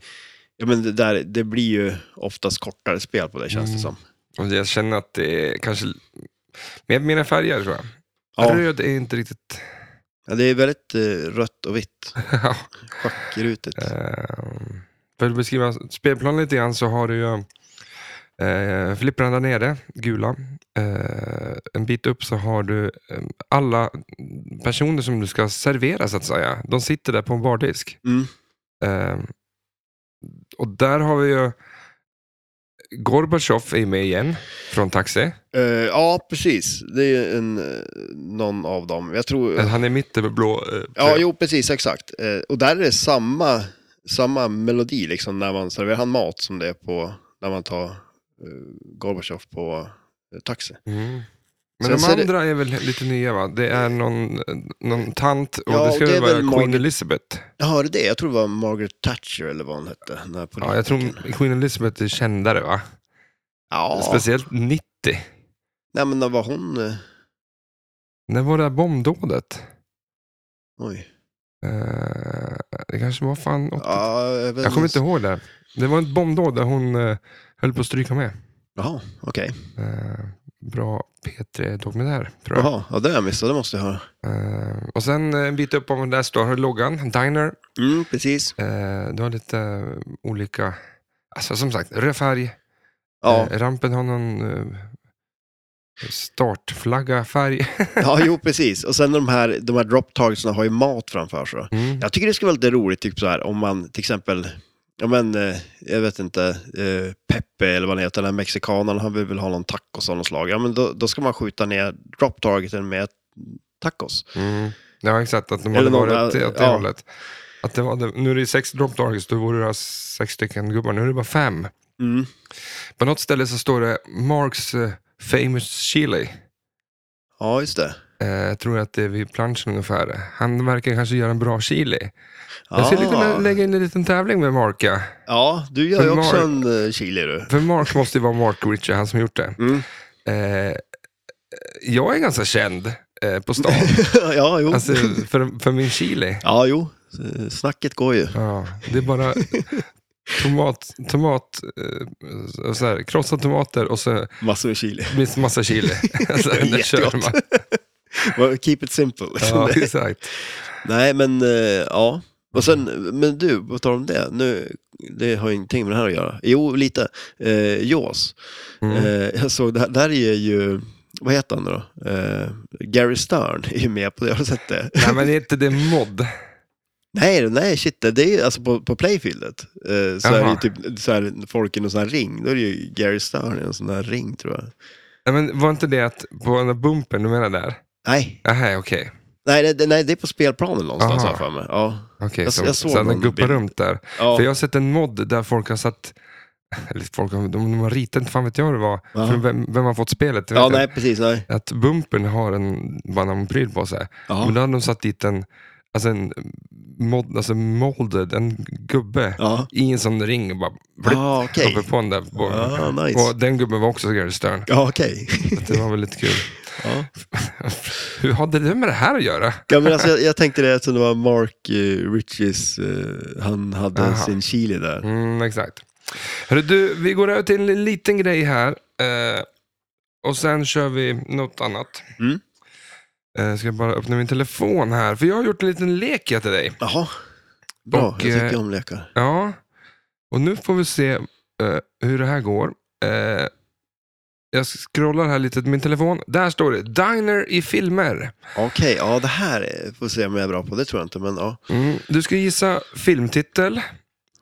S2: ja men det, där, det blir ju oftast kortare spel på det känns
S1: Mm.
S2: det som.
S1: Och jag känner att det är kanske... Med mina färger tror jag.
S2: Ja,
S1: Röd är inte riktigt...
S2: ja, det är väldigt eh, rött och vitt.
S1: Ja.
S2: Schackrutigt.
S1: Ehm, För att beskriva spelplanen lite grann så har du ju eh, flipprarna där nere, gula. Eh, en bit upp så har du eh, alla personer som du ska servera så att säga. De sitter där på en bardisk.
S2: Mm.
S1: Eh, och där har vi ju Gorbatjov är med igen från Taxi.
S2: Eh, ja, precis. Det är ju en, eh, någon av dem. Jag tror...
S1: Eh, Han är mitt över blå. Eh,
S2: ja, jo, precis, exakt. Eh, och där är det samma, samma melodi liksom när man serverar han mat som det är på när man tar uh, Gorbatjov på eh, taxi.
S1: Mm.
S2: Sen
S1: Men
S2: så
S1: de
S2: är det-
S1: andra är väl lite nya va? Det är någon, någon tant och
S2: Ja,
S1: det ska
S2: och det
S1: väl
S2: är
S1: vara
S2: väl
S1: Queen
S2: Margaret-
S1: Elizabeth.
S2: Jag hörde det. Jag tror det var Margaret Thatcher eller vad hon hette. Den här
S1: Ja, jag tror Queen Elizabeth är kändare va?
S2: Ja,
S1: Speciellt 90.
S2: nej men när var hon... eh,
S1: När var det här bombdådet?
S2: oj.
S1: Eh, det kanske var fan 80.
S2: Ja, jag, vet
S1: Jag kommer inte ihåg det. Det var ett bombdåd där hon eh, höll på att stryka med.
S2: Jaha, okej.
S1: Eh, bra P3-dokumentär tror jag.
S2: Jaha, ja, det har jag missat. Det måste jag höra.
S1: Eh, och sen eh, en bit upp om där står loggan, Diner.
S2: Mm, precis.
S1: Eh, du har lite eh, olika, alltså som sagt, röd färg.
S2: Ja,
S1: Eh, rampen har någon eh, Startflagga färg.
S2: Ja, jo precis. Och sen de här, de här drop targetsna har ju mat framför sig.
S1: Mm,
S2: Jag tycker det skulle vara lite roligt, typ så här, om man till exempel, ja men, eh, jag vet inte, eh, Pepe eller vad han heter, den här mexikanen, han vill väl ha någon tacos av något slag. Ja, men då, då ska man skjuta ner drop targeten med tacos.
S1: mm. Ja, exakt. Att de
S2: Eller
S1: hade
S2: någon- eh,
S1: varit åt det, åt det
S2: ja.
S1: hållet. Att det var, det- nu är det sex drop targets, då borde det ha sex stycken gubbar. Nu är det bara fem.
S2: Mm.
S1: På något ställe så står det Marks eh, famous chili.
S2: Ja, just det.
S1: Eh, jag tror att det är vid planschen ungefär. Han verkar kanske göra en bra chili. Jag skulle
S2: Ah.
S1: kunna lägga in en liten tävling med Mark. Ja.
S2: Ja, du gör ju
S1: Men
S2: också
S1: Mark-
S2: en eh, chili du.
S1: För Mark måste ju vara Mark Ritchie, han som gjort det.
S2: Mm.
S1: Eh, jag är ganska känd eh, på stan
S2: ja, jo.
S1: alltså, för, för min chili.
S2: Ja, jo. S- Snacket går ju.
S1: Ja, det är bara tomat, tomat eh, så här, krossade tomater och så
S2: Massor med chili.
S1: minst massa chili. Alltså, det kör man.
S2: Jättegott. Well, Keep it simple.
S1: Ja, exakt.
S2: Nej, men eh, ja. Och sen, men du, vad tar om det? Nu, det har ju ingenting med det här att göra. Jo, lite. Eh, Jaws.
S1: Mm.
S2: Eh, jag såg, det här, det här är ju, vad heter han då? Eh, Gary Stern är ju med på det, har du sett det?
S1: Nej, men är inte det mod?
S2: nej, nej, shit, det är ju alltså på, på playfieldet. Eh, så är det
S1: Jaha.
S2: ju typ så här, folk i någon sån här ring, då är det ju Gary Stern i en sån här ring tror jag.
S1: Nej, men var inte det att på den där bumpen du menar där?
S2: Nej,
S1: Aha, okej.
S2: nej, det- det, nej, det är på spelplanen någonstans
S1: Aha.
S2: har jag för mig. Ja.
S1: Okej,
S2: Jag-
S1: så
S2: jag
S1: så
S2: såg
S1: att den
S2: någon
S1: guppar
S2: bild.
S1: runt där.
S2: Ja.
S1: För jag har sett en mod där folk har satt, eller folk har, de, de har ritat, inte fan vet jag hur det var,
S2: Jaha.
S1: för vem, vem har fått spelet. det vet
S2: ja,
S1: jag
S2: nej, precis, nej.
S1: att bumpen har en bananpryl på sig.
S2: Ja.
S1: Men då hade de satt dit en, alltså en mod, alltså molded, en gubbe
S2: Ja.
S1: i en sån ring och bara blipp,
S2: Ah, okej.
S1: uppe på den där. På,
S2: Ah, nice.
S1: Och den gubben var också Gary Stern.
S2: Ja, okej.
S1: Det var väl lite kul.
S2: ja.
S1: Hur hade det med det här att göra?
S2: Ja, men alltså, jag, jag tänkte det eftersom det var Mark eh, Riches, eh, han hade
S1: Aha.
S2: sin chili där.
S1: Mm, exakt. Hörru, du, vi går över till en liten grej här. Eh, och sen kör vi något annat.
S2: Mm.
S1: Eh, ska jag bara öppna min telefon här. För jag har gjort en liten lek jag till dig.
S2: Jaha, bra.
S1: Och,
S2: jag
S1: eh,
S2: tycker om lekar.
S1: Ja, och nu får vi se eh, hur det här går. Eh, jag scrollar här lite till min telefon. Där står det Diner i filmer.
S2: Okej, ja det här är- får se om jag är bra på. Det tror jag inte, men ja.
S1: Mm. Du ska gissa filmtitel,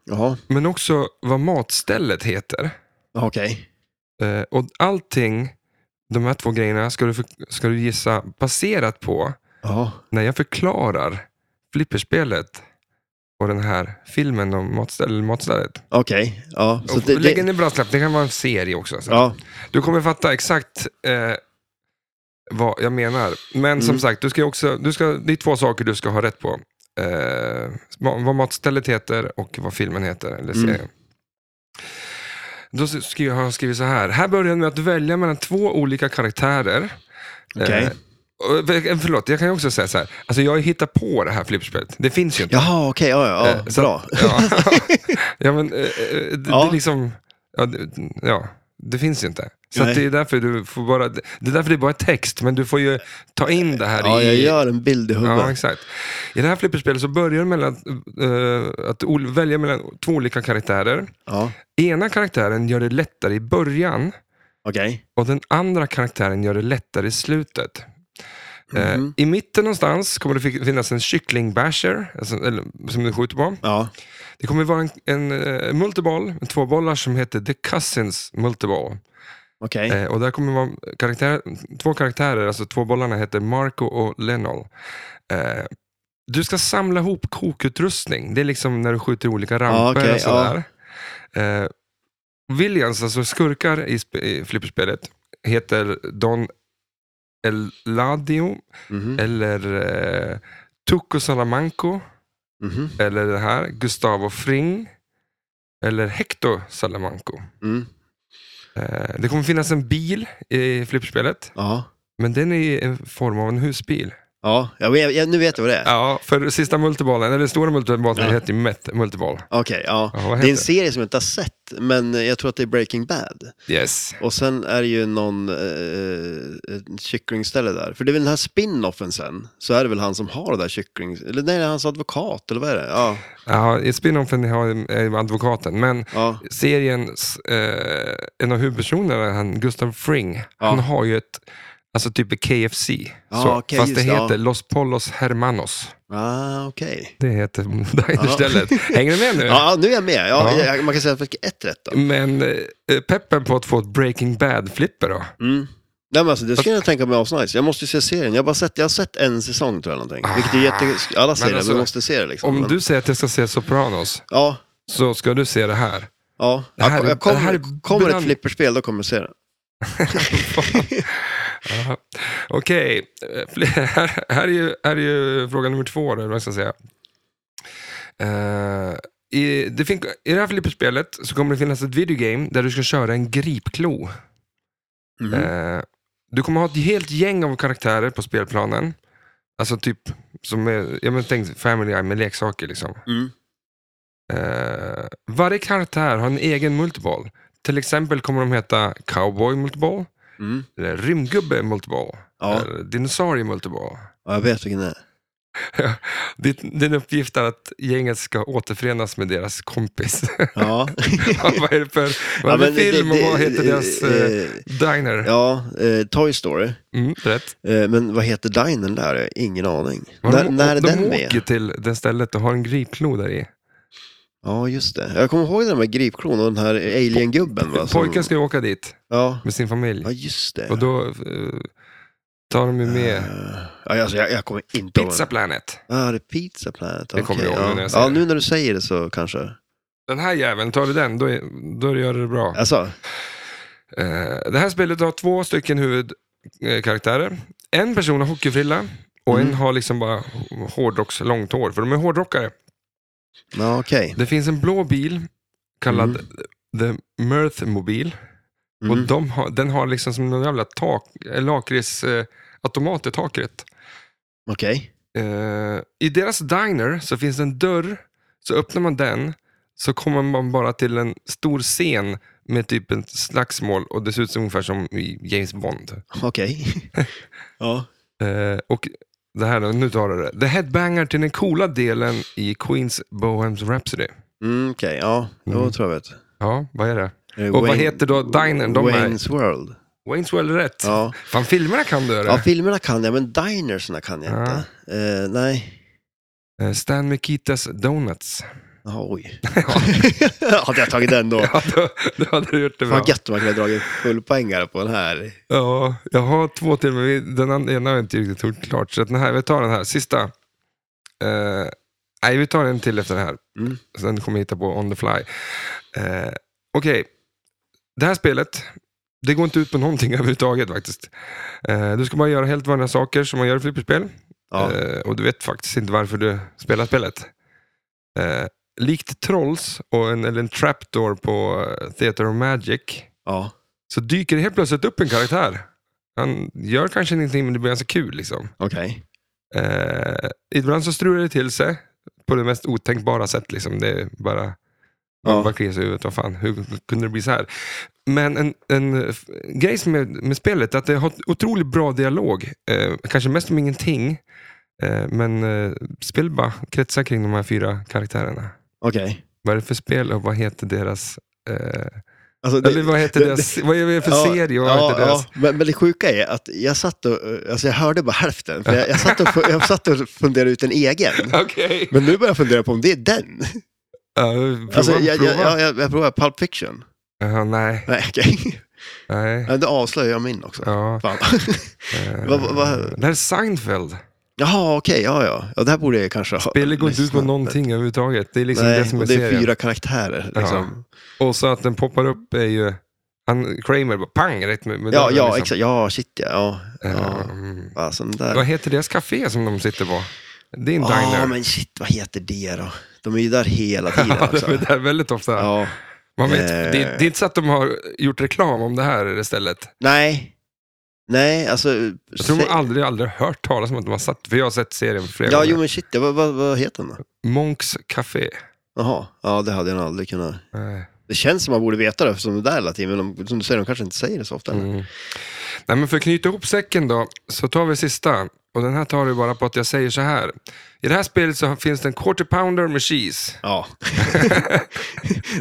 S2: Jaha,
S1: men också vad matstället heter.
S2: Ja, okej.
S1: Eh, och allting, de här två grejerna, ska du, för, ska du gissa baserat på
S2: Jaha,
S1: när jag förklarar flipperspelet och den här filmen om matställ, matstället.
S2: okej. Ja, så
S1: Och
S2: det,
S1: Lägg in
S2: det,
S1: en brasklapp, det kan vara en serie också. Så.
S2: ja,
S1: Du kommer fatta exakt eh, vad jag menar. Men som sagt, du ska ju också, du ska, det är två saker du ska ha rätt på. Eh, ma- vad matstället heter och vad filmen heter, eller serien. Då skri- har jag skrivit så här. Här börjar jag med att välja mellan två olika karaktärer.
S2: okej.
S1: Eh, och- eh, Förlåt, jag kan ju också säga så här. Alltså jag hittar på det här flippspelet. Det finns ju inte.
S2: Jaha, okej. ja, ja,
S1: Eh,
S2: ja.
S1: så-
S2: Bra.
S1: Ja, ja men eh, eh, det, det
S2: Ja.
S1: är liksom, ja, det, ja, det finns ju inte. Så
S2: Nej.
S1: att det är därför du får bara, det är därför det är bara text, men du får ju ta in det här
S2: Ja, jag
S1: i...
S2: gör en bild i
S1: Ja,
S2: huvudet.
S1: exakt. I det här flipperspelet så börjar du mellan, eh, att ol- välja mellan två olika karaktärer.
S2: Ja,
S1: Ena karaktären gör det lättare i början
S2: okej.
S1: och den andra karaktären gör det lättare i slutet. Eh,
S2: Mhm.
S1: I mitten någonstans kommer det fi- finnas en kycklingbasher alltså, eller, som du skjuter på.
S2: Ja,
S1: Det kommer vara en, en eh, multiball, en tvåbollar som heter The Cousins Multiball.
S2: okej.
S1: Eh, och där kommer vara karaktär, två karaktärer, alltså två bollarna heter Marco och Lenol. Eh, du ska samla ihop kokutrustning. Det är liksom när du skjuter olika ramper
S2: okej,
S1: och sådär. Eh, Williams, alltså skurkar i, sp- i flipperspelet, heter Don Eladio
S2: Mhm,
S1: eller eh, Tuco Salamanco
S2: mhm,
S1: eller det här, Gustavo Fring eller Hector Salamanco.
S2: mm.
S1: Eh, Det kommer finnas en bil i flipperspelet,
S2: Ja,
S1: men den är i en form av en husbil.
S2: Ja, jag vet, jag, nu vet jag vad det är.
S1: Ja, för sista multiballen, eller stora multiballen, heter ju Met Multiball.
S2: Okej, ja.
S1: Ja, vad heter
S2: det är en
S1: det?
S2: serie som jag inte har sett, men jag tror att det är Breaking Bad.
S1: Yes.
S2: Och sen är det ju någon eh, ett kycklingställe där. För det är väl den här spin-offen sen, så är det väl han som har det där kyckling... Eller nej, det är hans advokat, eller vad är det? Ja,
S1: Ja, i spin-offen har är ju advokaten, men
S2: ja.
S1: seriens, eh, en av huvudpersonerna, han, Gustav Fring,
S2: Ja.
S1: han har ju ett, alltså typ KFC.
S2: Ja,
S1: så,
S2: okej,
S1: fast det
S2: just det,
S1: heter
S2: ja.
S1: Los Polos Hermanos.
S2: Ah, okej.
S1: Det heter dinerstället. Hänger du med nu?
S2: Ja, nu är jag med. Ja,
S1: Ja. Mm.
S2: Jag, man kan säga att jag fick ett rätt då.
S1: Men eh, peppen på att få ett Breaking Bad-flipper då?
S2: Mm. Nej, men alltså, det skulle jag tänka mig asnice. Jag måste ju se serien. Jag har, bara sett, jag har sett en säsong tror jag någonting. Vilket är jätte... Alla säger det,
S1: Ah. alltså,
S2: men vi måste se det liksom.
S1: Om
S2: men,
S1: du säger att jag ska se Sopranos,
S2: Ja,
S1: så ska du se det här.
S2: ja.
S1: Det här
S2: jag,
S1: är-
S2: jag kommer,
S1: det här är
S2: kommer ett
S1: brand-
S2: flipperspel, då kommer jag se det.
S1: Jaha. Okej, Eh, fl- här, här, är ju, här är ju fråga nummer två, eller vad jag ska säga. Eh, i, det fin- I det här flipperspelet så kommer det finnas ett videogame där du ska köra en gripklo.
S2: Mhm.
S1: Eh, du kommer ha ett helt gäng av karaktärer på spelplanen. Alltså typ, som är, jag men tänk Family Guy med leksaker liksom.
S2: Mm.
S1: Eh, varje karaktär har en egen multiball. Till exempel kommer de heta Cowboy Multiball,
S2: Mm.
S1: eller Rymdgubbe Multiball,
S2: Ja.
S1: eller Dinosaurie Multiball.
S2: Ja, jag vet vilken det är.
S1: Ditt, din uppgift är att gänget ska återförenas med deras kompis.
S2: Ja.
S1: vad är det för vad är det för film och vad heter deras eh,
S2: eh,
S1: diner?
S2: Ja, eh, Toy Story.
S1: Mm, rätt.
S2: Eh, men vad heter dinern där? Jag har ingen aning.
S1: Och
S2: När,
S1: de,
S2: när är
S1: de
S2: den
S1: åker
S2: med?
S1: till det stället och har en gripklo där i.
S2: Ja, just det. Jag kommer ihåg den med gripklon och den här alien-gubben. Va, som-
S1: Pojkar ska ju åka dit
S2: Ja.
S1: med sin familj.
S2: ja, just det.
S1: Och då eh, tar de ju med
S2: Ja, alltså, jag, jag kommer inte ihåg.
S1: Pizza Planet.
S2: Ja, ah, det är Pizza Planet.
S1: Det kommer
S2: Okej,
S1: jag ihåg nu
S2: ja.
S1: när jag säger
S2: ja,
S1: det.
S2: nu när du säger det så kanske.
S1: Den här jäveln, tar du den, då, är, då gör du det bra.
S2: Alltså,
S1: Eh, det här spelet har två stycken huvudkaraktärer. En person har hockeyfrilla och
S2: Mm.
S1: en har liksom bara hårdrocks långt hår, för de är hårdrockare.
S2: ja, okej.
S1: Det finns en blå bil kallad
S2: Mm.
S1: The Mirth-mobil. Och
S2: Mm.
S1: de har, den har liksom som någon jävla tak, eh, lakrits, eh, automat i taket.
S2: Okej.
S1: Eh, I deras diner så finns det en dörr, så öppnar man den så kommer man bara till en stor scen med typ ett slagsmål och det ser ut som ungefär som i James Bond.
S2: Okej. Ja.
S1: Eh, och det här, då, nu tar du det. The Headbanger till den coola delen i Queens Bohems Rhapsody.
S2: Mm, okej, ja.
S1: Mm.
S2: Då tror jag vet.
S1: Ja, vad är det?
S2: Eh,
S1: Och vad heter då dinern de är?
S2: Wayne's World.
S1: Wayne's World är rätt.
S2: Ja.
S1: Fan, filmerna kan du
S2: ja,
S1: eller?
S2: filmerna kan jag, men dinersna kan jag
S1: Ja.
S2: inte. Eh, nej.
S1: Eh, Stan Mikitas Donuts.
S2: Jaha, oj. Hade jag tagit den då?
S1: Ja, då, då hade du gjort det bra.
S2: Vad gött om man kunde ha dragit fullpoängare på den här.
S1: Ja, jag har två till, men vi- den an- ena har jag inte riktigt gjort klart. Så att den här, vi tar den här, sista. Eh, nej, vi tar en till efter den här.
S2: Mm.
S1: Sen kommer jag hitta på on the fly. Eh, Okej, det här spelet, det går inte ut på någonting överhuvudtaget faktiskt. Eh, du ska bara göra helt vanliga saker som man gör i flipperspel.
S2: Ja.
S1: Eh, och du vet faktiskt inte varför du spelar spelet. Eh, likt Trolls och en, eller en Trapdoor på eh, Theater of Magic
S2: ja.
S1: så dyker det helt plötsligt upp en karaktär. Han gör kanske ingenting, men det blir ganska kul. Liksom.
S2: Okej.
S1: Eh, ibland så strular det till sig på det mest otänkbara sätt. Liksom. Det är bara... Man
S2: Ja.
S1: bara kliar sig i huvudet. Vad fan, hur kunde det bli så här? Men en, en f- grej som är med spelet är att det har otroligt bra dialog. Eh, kanske mest om ingenting. Eh, men eh, spel bara kretsar kring de här fyra karaktärerna.
S2: Okej.
S1: Vad är det för spel och vad heter deras... Eh,
S2: Alltså, det-
S1: eller vad heter
S2: det-
S1: deras... Vad är det för serie och vad
S2: ja,
S1: heter deras...
S2: ja. Men, men det sjuka är att jag satt och, eh, alltså jag hörde bara hälften, för jag, jag, satt och, fu- jag satt och funderade ut en egen.
S1: Okej.
S2: Men nu börjar jag fundera på om det är den.
S1: Ja, prova,
S2: Alltså, jag,
S1: prova.
S2: jag, jag, jag, jag provar Pulp Fiction.
S1: Ja, nej,
S2: Nej, okej.
S1: nej.
S2: Okay. Då avslöjar jag min också.
S1: Ja,
S2: Fan.
S1: eh,
S2: vad- vad-
S1: Det här är Seinfeld.
S2: Jaha, okej, ja, ja, ja. Det här borde jag kanske ha
S1: Spelet går inte ut på
S2: lyssnat.
S1: någonting överhuvudtaget. Det är liksom
S2: Nej,
S1: det som är,
S2: och det är
S1: serien.
S2: fyra karaktärer. Liksom.
S1: Och så att den poppar upp är ju... Han, Kramer bara pang rätt med, med
S2: Ja, ja,
S1: dörren, liksom.
S2: exakt. Ja, shit ja. ja, ja.
S1: Ehm,
S2: Alltså, den där.
S1: Vad heter deras café som de sitter på? Det är en
S2: Ja,
S1: diner.
S2: men shit, vad heter det då? De är ju där hela tiden
S1: Ja, de
S2: också.
S1: är där väldigt ofta.
S2: Ja.
S1: Man vet,
S2: Eh.
S1: det, det är inte så att de har gjort reklam om det här stället.
S2: Nej. Nej, alltså...
S1: Jag tror man
S2: se-
S1: aldrig, aldrig hört talas om att de har satt, för jag har sett serien flera
S2: Ja,
S1: gånger.
S2: jo men shit, ja, vad, vad, vad heter den då?
S1: Monks Café.
S2: Jaha, ja det hade jag nog aldrig kunnat.
S1: Nej.
S2: Det känns som man borde veta det eftersom det där hela tiden, men de, som du säger, de kanske inte säger det så ofta.
S1: Nej, men för att knyta ihop säcken då, så tar vi sista. Och den här tar du bara på att jag säger så här. I det här spelet så finns det en quarter pounder med cheese.
S2: Ja.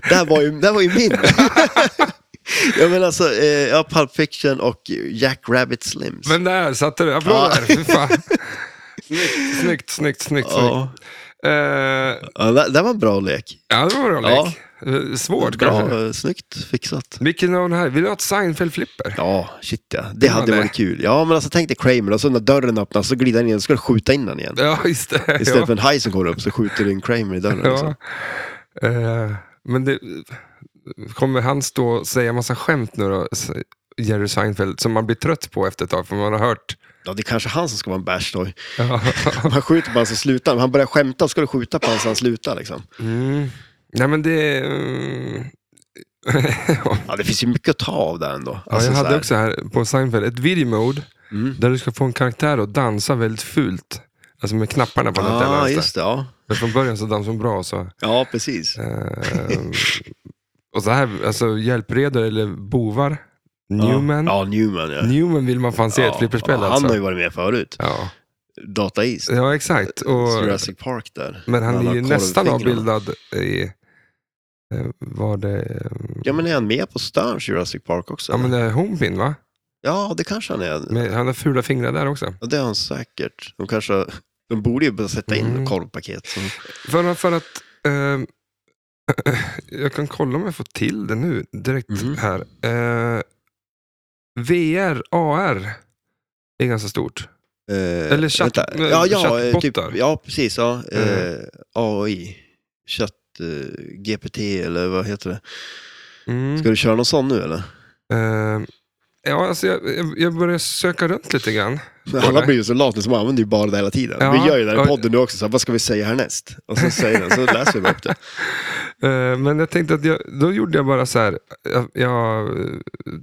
S2: det, här var ju, det här var ju min. ja men alltså, eh, ja, Pulp Fiction och Jack Rabbit Slims.
S1: Men där satte du, applåder!
S2: Ja.
S1: Fy fan. Snyggt, snyggt, snyggt, snyggt.
S2: Ja.
S1: snyggt. Eh,
S2: Ja, det, det var en bra lek.
S1: ja, det var en
S2: Ja.
S1: lek. Eh, Svårt kanske.
S2: Bra, eh, snyggt fixat.
S1: Vilken av den här? Vill du ha ett Seinfeld-flipper?
S2: Ja, shit ja. Det hade
S1: det.
S2: varit kul. Ja, men alltså tänk dig Kramer och så när dörren öppnas så glider han in och ska skjuta in den igen.
S1: Ja, just det.
S2: Istället
S1: ja.
S2: för en haj som kommer upp så skjuter in Kramer i dörren. Liksom.
S1: Ja. Eh, men det, kommer han stå och säga massa skämt nu då, s- Jerry Seinfeld, som man blir trött på efter ett tag, för man har hört.
S2: Ja, det är kanske han som ska vara en bash då.
S1: Ja.
S2: Man skjuter på honom så slutar han. Han börjar skämta, ska du skjuta på honom så han slutar liksom.
S1: Mm. Nej, men det... Mm.
S2: Ja, det finns ju mycket att ta av där ändå. Alltså,
S1: ja, jag
S2: så
S1: hade
S2: här. Mm.
S1: också här på Seinfeld ett video mode där du ska få en karaktär att dansa väldigt fult. Alltså med knapparna på något
S2: Ja,
S1: ah,
S2: just det. Ja,
S1: Men från början så dansade hon bra. Så,
S2: ja precis.
S1: ehm, och så här, alltså hjälpredare eller bovar. Newman.
S2: Ja, Newman ja.
S1: Newman vill man fan se i ett
S2: Ja,
S1: flipperspel
S2: ja, Han
S1: alltså.
S2: har ju varit med förut.
S1: Ja.
S2: Data East.
S1: ja, exakt. Eh, Och,
S2: Jurassic Park där.
S1: men han är
S2: har
S1: ju
S2: korvfingrarna.
S1: nästan avbildad i... eh, Var det... eh,
S2: Ja, men är han med på Sterns Jurassic Park också?
S1: Ja, men det är Homepin va?
S2: ja det kanske han är.
S1: Men han har fula fingrar där också.
S2: Ja, det har han säkert. De kanske... De borde ju börja sätta in
S1: Mm.
S2: korvpaket. Som...
S1: För, för att... ehm, jag kan kolla om jag får till det nu direkt
S2: Mhm.
S1: här. Eh, VR, AR är ganska stort.
S2: Eh,
S1: Eller chatt-
S2: vänta. ja, ja, eh, typ,
S1: chattbottar.
S2: ja, precis. Ja, eh,
S1: Mm.
S2: AI. Chatt, eh, GPT eller vad heter det?
S1: Mm.
S2: Ska du köra någon sån nu eller?
S1: Ehm, ja, alltså jag, jag- jag börjar söka runt lite grann.
S2: Alla blir ju så lata så man använder ju bara det hela tiden.
S1: Ja.
S2: Vi gör ju det här
S1: Ja.
S2: i podden nu också, så här, vad ska vi säga härnäst? Och så säger den, så läser vi bara upp det.
S1: Eh, Men jag tänkte att jag, då gjorde jag bara så här. Jag, jag eh,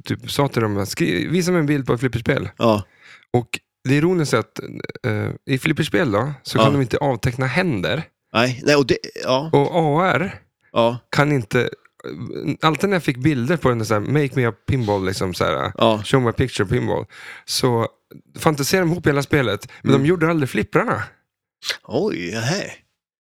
S1: typ sa till dem, att skri- visa mig en bild på ett flipperspel.
S2: Ja,
S1: Och det ironiska är att eh, i flipperspel då, så kan
S2: Ja.
S1: de inte avteckna händer.
S2: nej, nej, och det, ja,
S1: Och AR
S2: ja,
S1: kan inte... Alltid när jag fick bilder på den där så här, make me a pinball, liksom så här,
S2: ja.
S1: show my picture pinball, så fantiserade de ihop hela spelet, men
S2: Mm.
S1: de gjorde aldrig flipprarna.
S2: Oj, hej.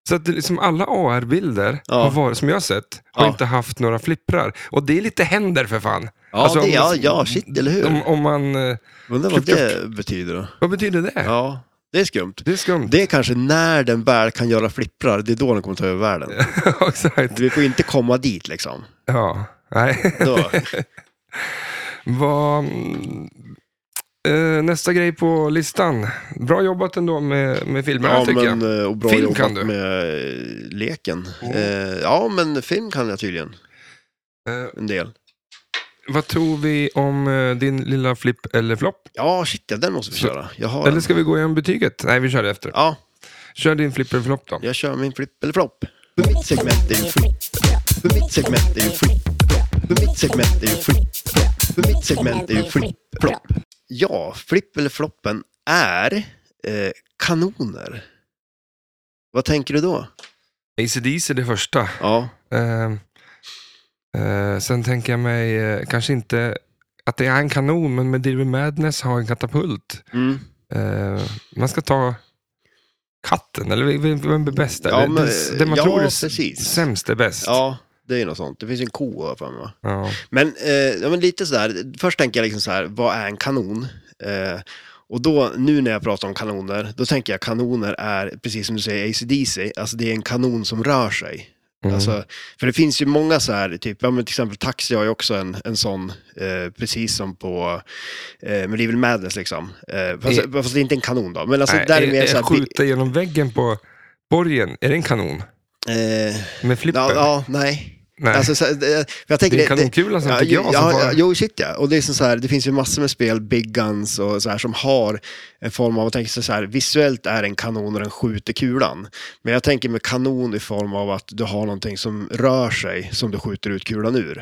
S1: Så att det, liksom alla AR-bilder
S2: Ja.
S1: har varit, som jag har sett har
S2: Ja.
S1: inte haft några flipprar. Och det är lite händer för fan. Alltså,
S2: Ja, det, ja, ja, shit, eller hur?
S1: Om, om man, eh,
S2: Undrar vad det betyder då?
S1: vad betyder det?
S2: Ja, det är skumt.
S1: Det är skumt.
S2: Det är kanske när den väl kan göra flipprar, det är då den kommer ta över världen.
S1: Ja, Exakt.
S2: Vi får inte komma dit liksom.
S1: Ja, nej.
S2: Då.
S1: Vad, mm, eh, nästa grej på listan. Bra jobbat ändå med, med filmerna
S2: Ja,
S1: tycker
S2: men,
S1: jag.
S2: eh, och bra
S1: Film
S2: jobbat
S1: kan du.
S2: med eh, leken. Eh, ja, men film kan jag tydligen.
S1: Eh,
S2: En del.
S1: vad tror vi om eh, din lilla flipp eller flopp?
S2: Ja, shit, ja, den måste vi
S1: Så-
S2: köra. Jag har
S1: Eller
S2: en.
S1: ska vi gå igenom betyget? Nej, vi kör det efter.
S2: Ja,
S1: Kör din flipp eller flopp då.
S2: jag kör min flipp eller flopp. För mitt segment är ju flipp. För mitt segment är ju flipp. För mitt segment är ju flipp. För mitt segment är ju flipp. Flopp. Ja, flipp eller floppen är eh, kanoner. Vad tänker du då?
S1: ACDC är det första.
S2: Ja,
S1: Eh, eh, sen tänker jag mig eh, kanske inte att det är en kanon, men Medieval Madness har en katapult.
S2: mm.
S1: Eh, man ska ta katten, eller vem- vem är bäst där?
S2: Ja,
S1: Det-
S2: men-
S1: det, det man
S2: ja,
S1: tror är s-
S2: precis.
S1: sämst är bäst.
S2: ja det är ju något sånt. Det finns ju en ko här framme va?
S1: Ja.
S2: Men, eh, ja, men lite sådär, först tänker jag liksom så här, vad är en kanon? Eh, och då, nu när jag pratar om kanoner, då tänker jag kanoner är, precis som du säger, ACDC, alltså det är en kanon som rör sig.
S1: Mm.
S2: Alltså, för det finns ju många så här, typ, ja, men till exempel Taxi har ju också en, en sån, eh, precis som på eh, Medieval Madness liksom. Eh, fast,
S1: I-
S2: fast det är inte en kanon då. Men alltså,
S1: Nej,
S2: där är
S1: är-
S2: mer
S1: är
S2: så här, bi-
S1: skjuta genom väggen på borgen, är det en kanon?
S2: eh,
S1: Med flippen?
S2: ja, ja, nej.
S1: Nej.
S2: Alltså, så, här, det, jag tänker,
S1: Det är en kanonkula som
S2: ja,
S1: tycker jag
S2: jo-
S1: som
S2: ja,
S1: bara-
S2: ja, Jo, shit ja. Och det, är som så här, det finns ju massor med spel, Big Guns och så här, som har en form av, jag tänker så här, visuellt är en kanon och den skjuter kulan. Men jag tänker med kanon i form av att du har någonting som rör sig, som du skjuter ut kulan ur.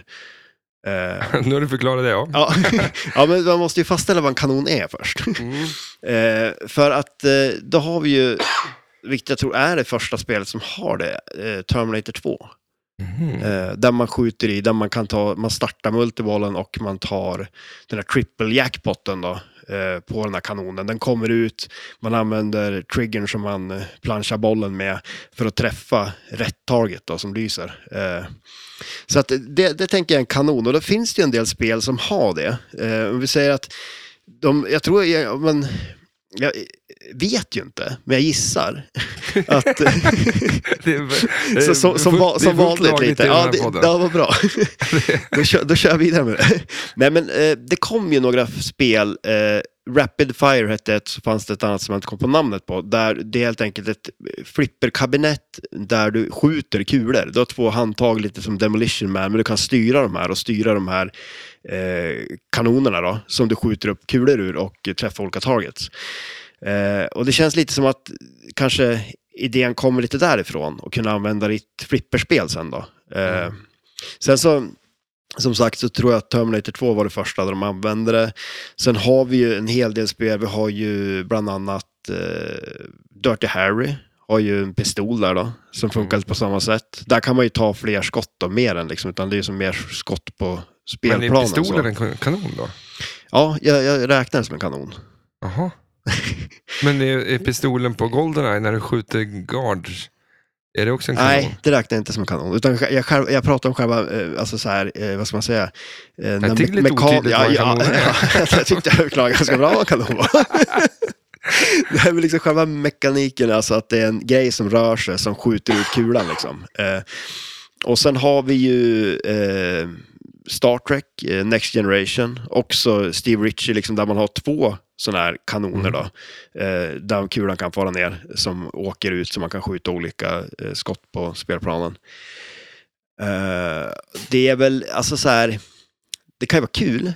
S2: Eh,
S1: nu har du förklarat det, ja.
S2: Ja. ja, men man måste ju fastställa vad en kanon är först.
S1: Mm.
S2: Eh, för att eh, då har vi ju, vilket jag tror är det första spelet som har det, eh, Terminator 2. Eh, där man skjuter i, där man kan ta, man startar multibollen och man tar den här triple jackpotten då. eh, På den här kanonen. Den kommer ut, man använder triggern som man eh, planchar bollen med för att träffa rätt target då, som lyser. Eh, Så att det, det tänker jag är en kanon och då finns det ju en del spel som har det. Eh, Om vi säger att de, jag tror, jag, men, jag vet ju inte, men jag gissar att
S1: Det är- det är
S2: så, som, som,
S1: fullt-
S2: va,
S1: det är
S2: som
S1: fullt
S2: vanligt
S1: lagligt
S2: lite.
S1: i den här
S2: Ja, det,
S1: podden.
S2: ja, vad bra. då, kör, då kör jag vidare med det. Nej, men eh, det kom ju några spel. Eh, Rapid Fire hette ett, så fanns det ett annat som jag inte kom på namnet på. Där det är helt enkelt ett flipperkabinett där du skjuter kulor. Du har två handtag, lite som Demolition Man, men du kan styra de här och styra de här eh, kanonerna då, som du skjuter upp kulor ur och eh, träffar olika targets. Eh, och det känns lite som att kanske idén kommer lite därifrån och kunna använda ditt flipperspel sen då. Eh,
S1: Mm.
S2: Sen så, som sagt, så tror jag att Terminator 2 var det första där de använde det. Sen har vi ju en hel del spel. Vi har ju bland annat eh, Dirty Harry. Har ju en pistol där då, som funkar
S1: Mm.
S2: på samma sätt. Där kan man ju ta fler skott då, mer än liksom, utan det är ju som mer skott på
S1: Men
S2: spelplanen.
S1: är pistol
S2: så.
S1: eller en kan- kanon då?
S2: Ja, jag, jag räknar det som en kanon.
S1: Jaha. Men är, är pistolen på Goldeneye när du skjuter guards? Är det också en kanon?
S2: Nej, det räknar jag inte som en kanon. Utan jag, själv, jag pratar om själva, eh, alltså så här, eh, vad ska man säga? Eh, när
S1: tyckte
S2: me-
S1: lite
S2: mekan-
S1: otydligt vad en
S2: ja,
S1: kanon är.
S2: ja, Jag tyckte jag förklarade ganska bra vad en kanon var. Det är väl liksom själva mekaniken, alltså att det är en grej som rör sig, som skjuter ut kulan liksom. Eh, och sen har vi ju eh, Star Trek, eh, Next Generation, också Steve Ritchie, liksom, där man har två sådana här kanoner då,
S1: Mm.
S2: eh, där kulan kan fara ner, som åker ut så man kan skjuta olika eh, skott på spelplanen. Eh, det är väl, alltså så här, det kan ju vara kul,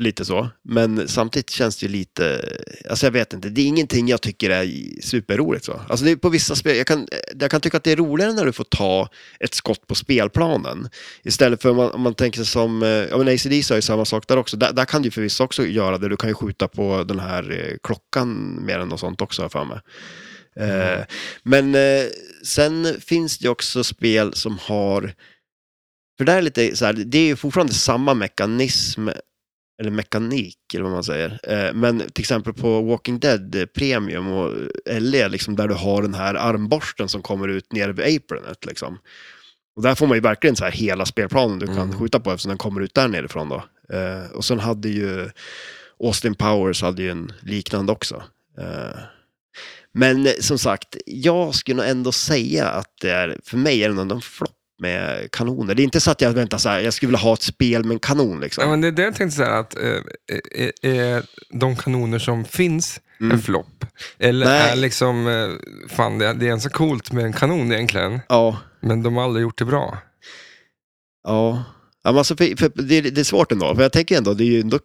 S2: lite så, men samtidigt känns det ju lite, alltså jag vet inte, det är ingenting jag tycker är superroligt så. Alltså det är på vissa spel, jag kan, jag kan tycka att det är roligare när du får ta ett skott på spelplanen. Istället för om man, om man tänker sig som, eh, ja men ACDC har ju samma sak där också, där, där kan du ju förvisso också göra det, du kan ju skjuta på den här eh, klockan mer än något sånt också har jag för mig. Eh, Men eh, sen finns det ju också spel som har för det är lite så här, det är ju fortfarande samma mekanism, eller mekanik, eller vad man säger. Eh, Men till exempel på Walking Dead eh, Premium och eh, LE, liksom, där du har den här armborsten som kommer ut nere vid apronet. Liksom. Och där får man ju verkligen så här hela spelplanen du kan
S1: Mm.
S2: skjuta på eftersom den kommer ut där nerifrån. Då. Eh, Och sen hade ju Austin Powers hade ju en liknande också. Eh, Men eh, som sagt, jag skulle nog ändå säga att det är, för mig är det nog en flopp med kanoner. Det är inte så att jag väntar så här, jag skulle vilja ha ett spel med en kanon liksom.
S1: Ja, men det är det jag tänkte säga, att eh, är, är de kanoner som finns en flopp? Eller
S2: Mm. Nej.
S1: är liksom, eh, fan det, det är så coolt med en kanon egentligen,
S2: Ja,
S1: men de har aldrig gjort det bra.
S2: ja. ja men alltså, för, för, det, det är svårt ändå, för jag tänker ändå, det är ju ändå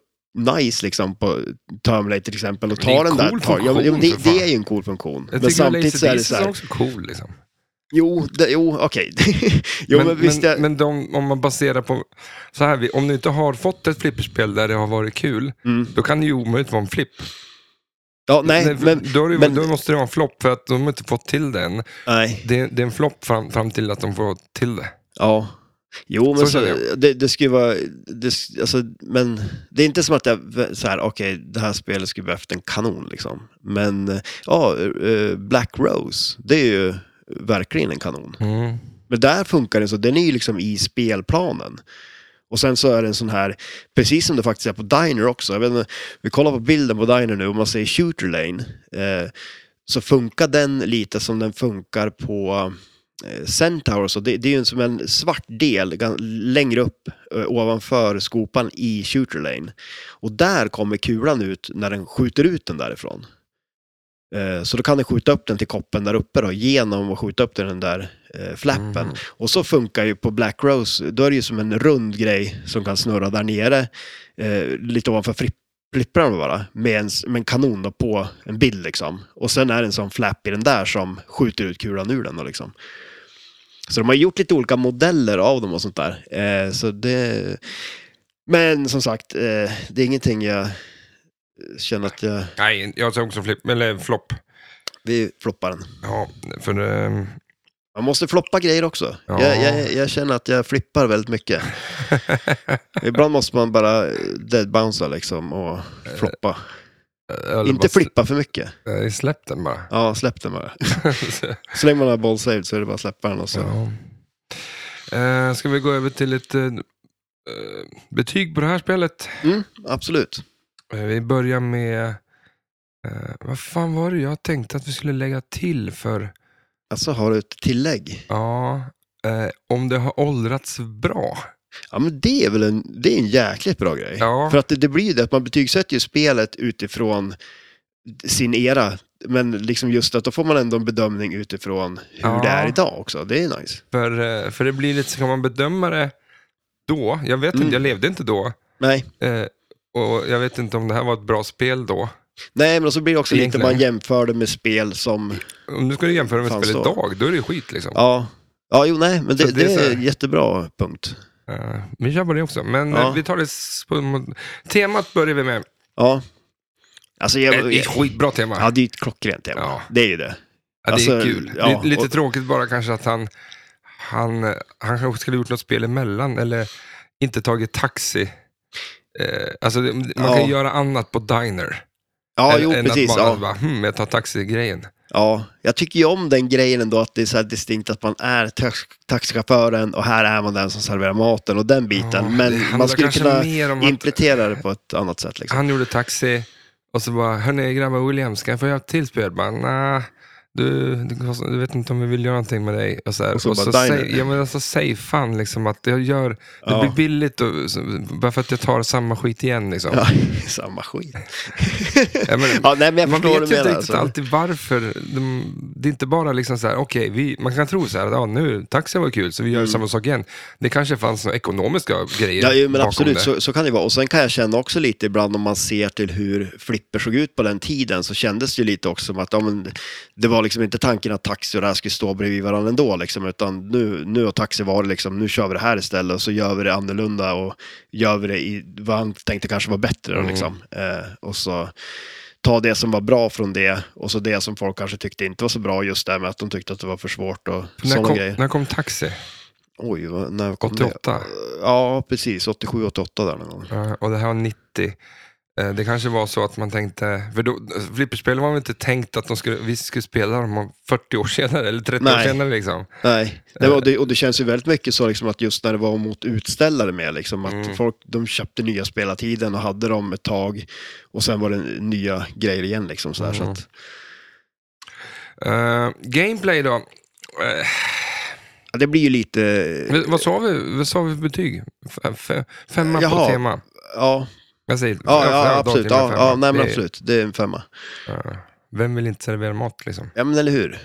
S2: nice liksom på Terminator till exempel och
S1: Det är
S2: ta
S1: en
S2: den där.
S1: cool
S2: tag- ja, men- ja,
S1: funktion,
S2: men det,
S1: för fan.
S2: det är ju en cool funktion.
S1: Jag
S2: men
S1: tycker väl
S2: samtidigt så är det
S1: ACDC
S2: så
S1: är
S2: här,
S1: också cool. Liksom.
S2: jo, det, jo, okej. jo, men,
S1: men
S2: visst,
S1: men,
S2: jag,
S1: men de, om man baserar på, så här, vi- om du inte har fått ett flipperspel där det har varit kul,
S2: Mm.
S1: då kan det ju omöjligt vara en flipp.
S2: ja, nej,
S1: Nej, för
S2: men,
S1: då, är det,
S2: men-
S1: då måste det vara en flopp för att de har inte fått till den.
S2: nej,
S1: Det, det är en flopp fram, fram till att de får till det.
S2: ja. Jo, men
S1: Så
S2: så
S1: känner
S2: det, det skulle vara, det, sk- alltså, men det är inte som att jag, vä- så här, okej, det här spelet skulle behövt en kanon liksom. Men, eh, ja, eh, Black Rose, det är ju verkligen en kanon.
S1: Mm.
S2: Men där funkar den så, den är ju liksom i spelplanen. Och sen så är det en sån här, precis som det faktiskt är på Diner också. Jag vet inte, vi kollar på bilden på Diner nu, om man säger Shooter Lane. Eh, så funkar den lite som den funkar på eh, Centaur och så. Det, det är ju en- som en svart del gan- längre upp eh, ovanför skopan i Shooter Lane. Och där kommer kulan ut när den skjuter ut den därifrån. Eh, Så då kan den skjuta upp den till koppen där uppe då, genom att skjuta upp den, den där eh, flappen.
S1: Mm.
S2: Och så funkar ju på Black Rose, då är det ju som en rund grej som kan snurra där nere, eh, lite ovanför fripp flipprarna bara, med en, s- med en kanon då på en bild liksom. Och sen är det en sån flapp i den där som skjuter ut kulan ur den då, liksom. Så de har gjort lite olika modeller av dem och sånt där. Eh, så det... Men som sagt, eh, det är ingenting jag känner att jag...
S1: Nej, jag säger också flipp, eller flopp.
S2: Vi floppar den.
S1: Ja, för... ehm,
S2: Man måste floppa grejer också.
S1: Ja.
S2: Jag, jag, jag känner att jag flippar väldigt mycket. Ibland måste man bara deadbouncea liksom och floppa.
S1: Eh, eller
S2: Inte
S1: bara-
S2: flippa för mycket.
S1: Nej, Släpp den bara.
S2: Ja, släpp den bara. Så länge man har boll saved så är det bara att släppa den och så.
S1: Ja. Eh, ska vi gå över till ett eh, eh, betyg på det här spelet?
S2: Mm, absolut.
S1: Eh, vi börjar med... Eh, vad fan var det jag tänkte att vi skulle lägga till för...
S2: Alltså har du ett tillägg?
S1: Ja, eh, om det har åldrats bra.
S2: Ja, men det är väl en, det är en jäkligt bra grej.
S1: Ja,
S2: För att det, det blir ju det att man betygsätter ju spelet utifrån sin era. Men liksom just att då får man ändå en bedömning utifrån hur
S1: Ja.
S2: det är idag också. Det är nice.
S1: för, eh, för det blir lite... Ska man bedöma det då? Jag vet
S2: Mm.
S1: inte, jag levde inte då.
S2: Nej,
S1: Eh, och jag vet inte om det här var ett bra spel då.
S2: Nej men så blir det också lite
S1: Egentligen.
S2: man jämför det med spel som...
S1: Om du ska jämföra med
S2: Fan,
S1: spel
S2: så.
S1: idag, då är det skit liksom.
S2: Ja, ja jo nej, men det,
S1: Så det är
S2: det
S1: så
S2: är
S1: här-
S2: en jättebra punkt.
S1: Eh, vi kör på det också, men
S2: Ja.
S1: eh, vi tar det... s- På, mot- temat börjar vi med.
S2: Ja. Alltså jag...
S1: Ett, ett skitbra tema.
S2: Ja, det är ju ett klockrent tema.
S1: Ja.
S2: Det är ju det.
S1: Ja, det är
S2: alltså,
S1: kul.
S2: ja,
S1: Lite, lite
S2: och-
S1: tråkigt bara kanske att han, han, eh, han kanske skulle ha gjort något spel emellan eller inte tagit taxi. Eh, alltså, det- man
S2: Ja.
S1: kan göra annat på Diner.
S2: Ja,
S1: än,
S2: jo
S1: än
S2: precis.
S1: att bara,
S2: Ja.
S1: bara, hmm, jag tar taxi-grejen.
S2: Ja, jag tycker ju om den grejen ändå att det är så här distinkt att man är tax- taxichauffören och här är man den som serverar maten och den biten.
S1: Ja, det
S2: men
S1: handlar
S2: man skulle
S1: kanske
S2: kunna
S1: mer om att-
S2: implementera det på ett annat sätt. Liksom.
S1: Han gjorde taxi och så bara, hörni grabbar William, ska jag få göra ett till spel? Bara, nah, du, det kostar- du vet inte om vi vill göra någonting med dig. Och så, här.
S2: Och så bara, Diner.
S1: säg, ja, men alltså, säg fan liksom att jag gör, det
S2: Ja.
S1: blir billigt och, så, bara för att jag tar samma skit igen. Liksom.
S2: Ja, samma skit.
S1: Ja, men-
S2: ja, nej, men jag
S1: man vet ju
S2: förstår vad du
S1: inte
S2: menar.
S1: riktigt
S2: Alltså.
S1: alltid varför. De, det är inte bara liksom så här, okej, vi- man kan tro så här, att ja, nu, taxin var kul, så vi gör samma sak igen. Det kanske fanns några ekonomiska grejer
S2: Mm. Ja, ju, men
S1: bakom
S2: absolut,
S1: det.
S2: så, så kan det vara. Och sen kan jag känna också lite ibland om man ser till hur flipper såg ut på den tiden så kändes det ju lite också som att ja, men, det var liksom inte tanken att taxi och det här skulle stå bredvid varandra ändå liksom, utan nu, nu har taxi varit liksom, nu kör vi det här istället och så gör vi det annorlunda och gör vi det i vad han tänkte kanske var bättre
S1: Mm.
S2: då, liksom. Eh, och så ta det som var bra från det och så det som folk kanske tyckte inte var så bra just det med att de tyckte att det var för svårt och
S1: när,
S2: sådana
S1: kom,
S2: grejer.
S1: när kom taxi?
S2: Oj, vad- när kom det?
S1: 88?
S2: Ja, precis. 87, 88 där någon gång.
S1: Ja, Eh, och det här var 90. Eh, Det kanske var så att man tänkte, för då, flipperspel var väl inte tänkt att de skulle, vi skulle spela dem 40 år senare eller 30 år
S2: Nej.
S1: senare. Liksom.
S2: Nej, det var, och, det, och det känns ju väldigt mycket så liksom att just när det var mot utställare med, liksom, att
S1: Mm.
S2: folk de köpte nya spel hela tiden och hade dem ett tag och sen var det nya grejer igen. Liksom, sådär,
S1: Mm.
S2: så att,
S1: Eh, gameplay då? Eh,
S2: ja, det blir ju lite,
S1: vad- vad sa vi, vad sa vi för betyg? F- f- femma på
S2: Jaha.
S1: tema.
S2: ja,
S1: Jag säger,
S2: ja,
S1: jag får
S2: ja
S1: göra
S2: absolut,
S1: datorn med
S2: ja,
S1: femma.
S2: ja, nej, men
S1: Det är-
S2: absolut, det är en femma.
S1: ja. vem vill inte servera mat liksom?
S2: Ja men eller hur?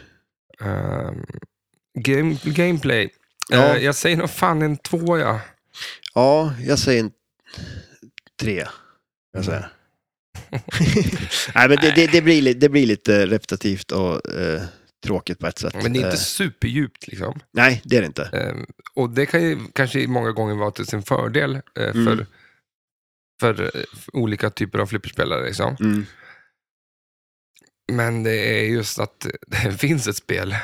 S1: Ehm, game, gameplay.
S2: Ja.
S1: Eh, jag säger nog fan en tvåa. Ja.
S2: Ja, jag säger en tre. Jag säger.
S1: Mm.
S2: nej men det, det, det, blir, li- det blir lite repetitivt och eh, tråkigt på ett sätt.
S1: Men det är inte
S2: Eh,
S1: superdjupt liksom.
S2: nej, det är det inte.
S1: Ehm, och det kan ju kanske många gånger vara till sin fördel eh,
S2: Mm.
S1: för, för, eh, för olika typer av flipperspelare. Liksom.
S2: Mm.
S1: Men det är just att det finns ett spel.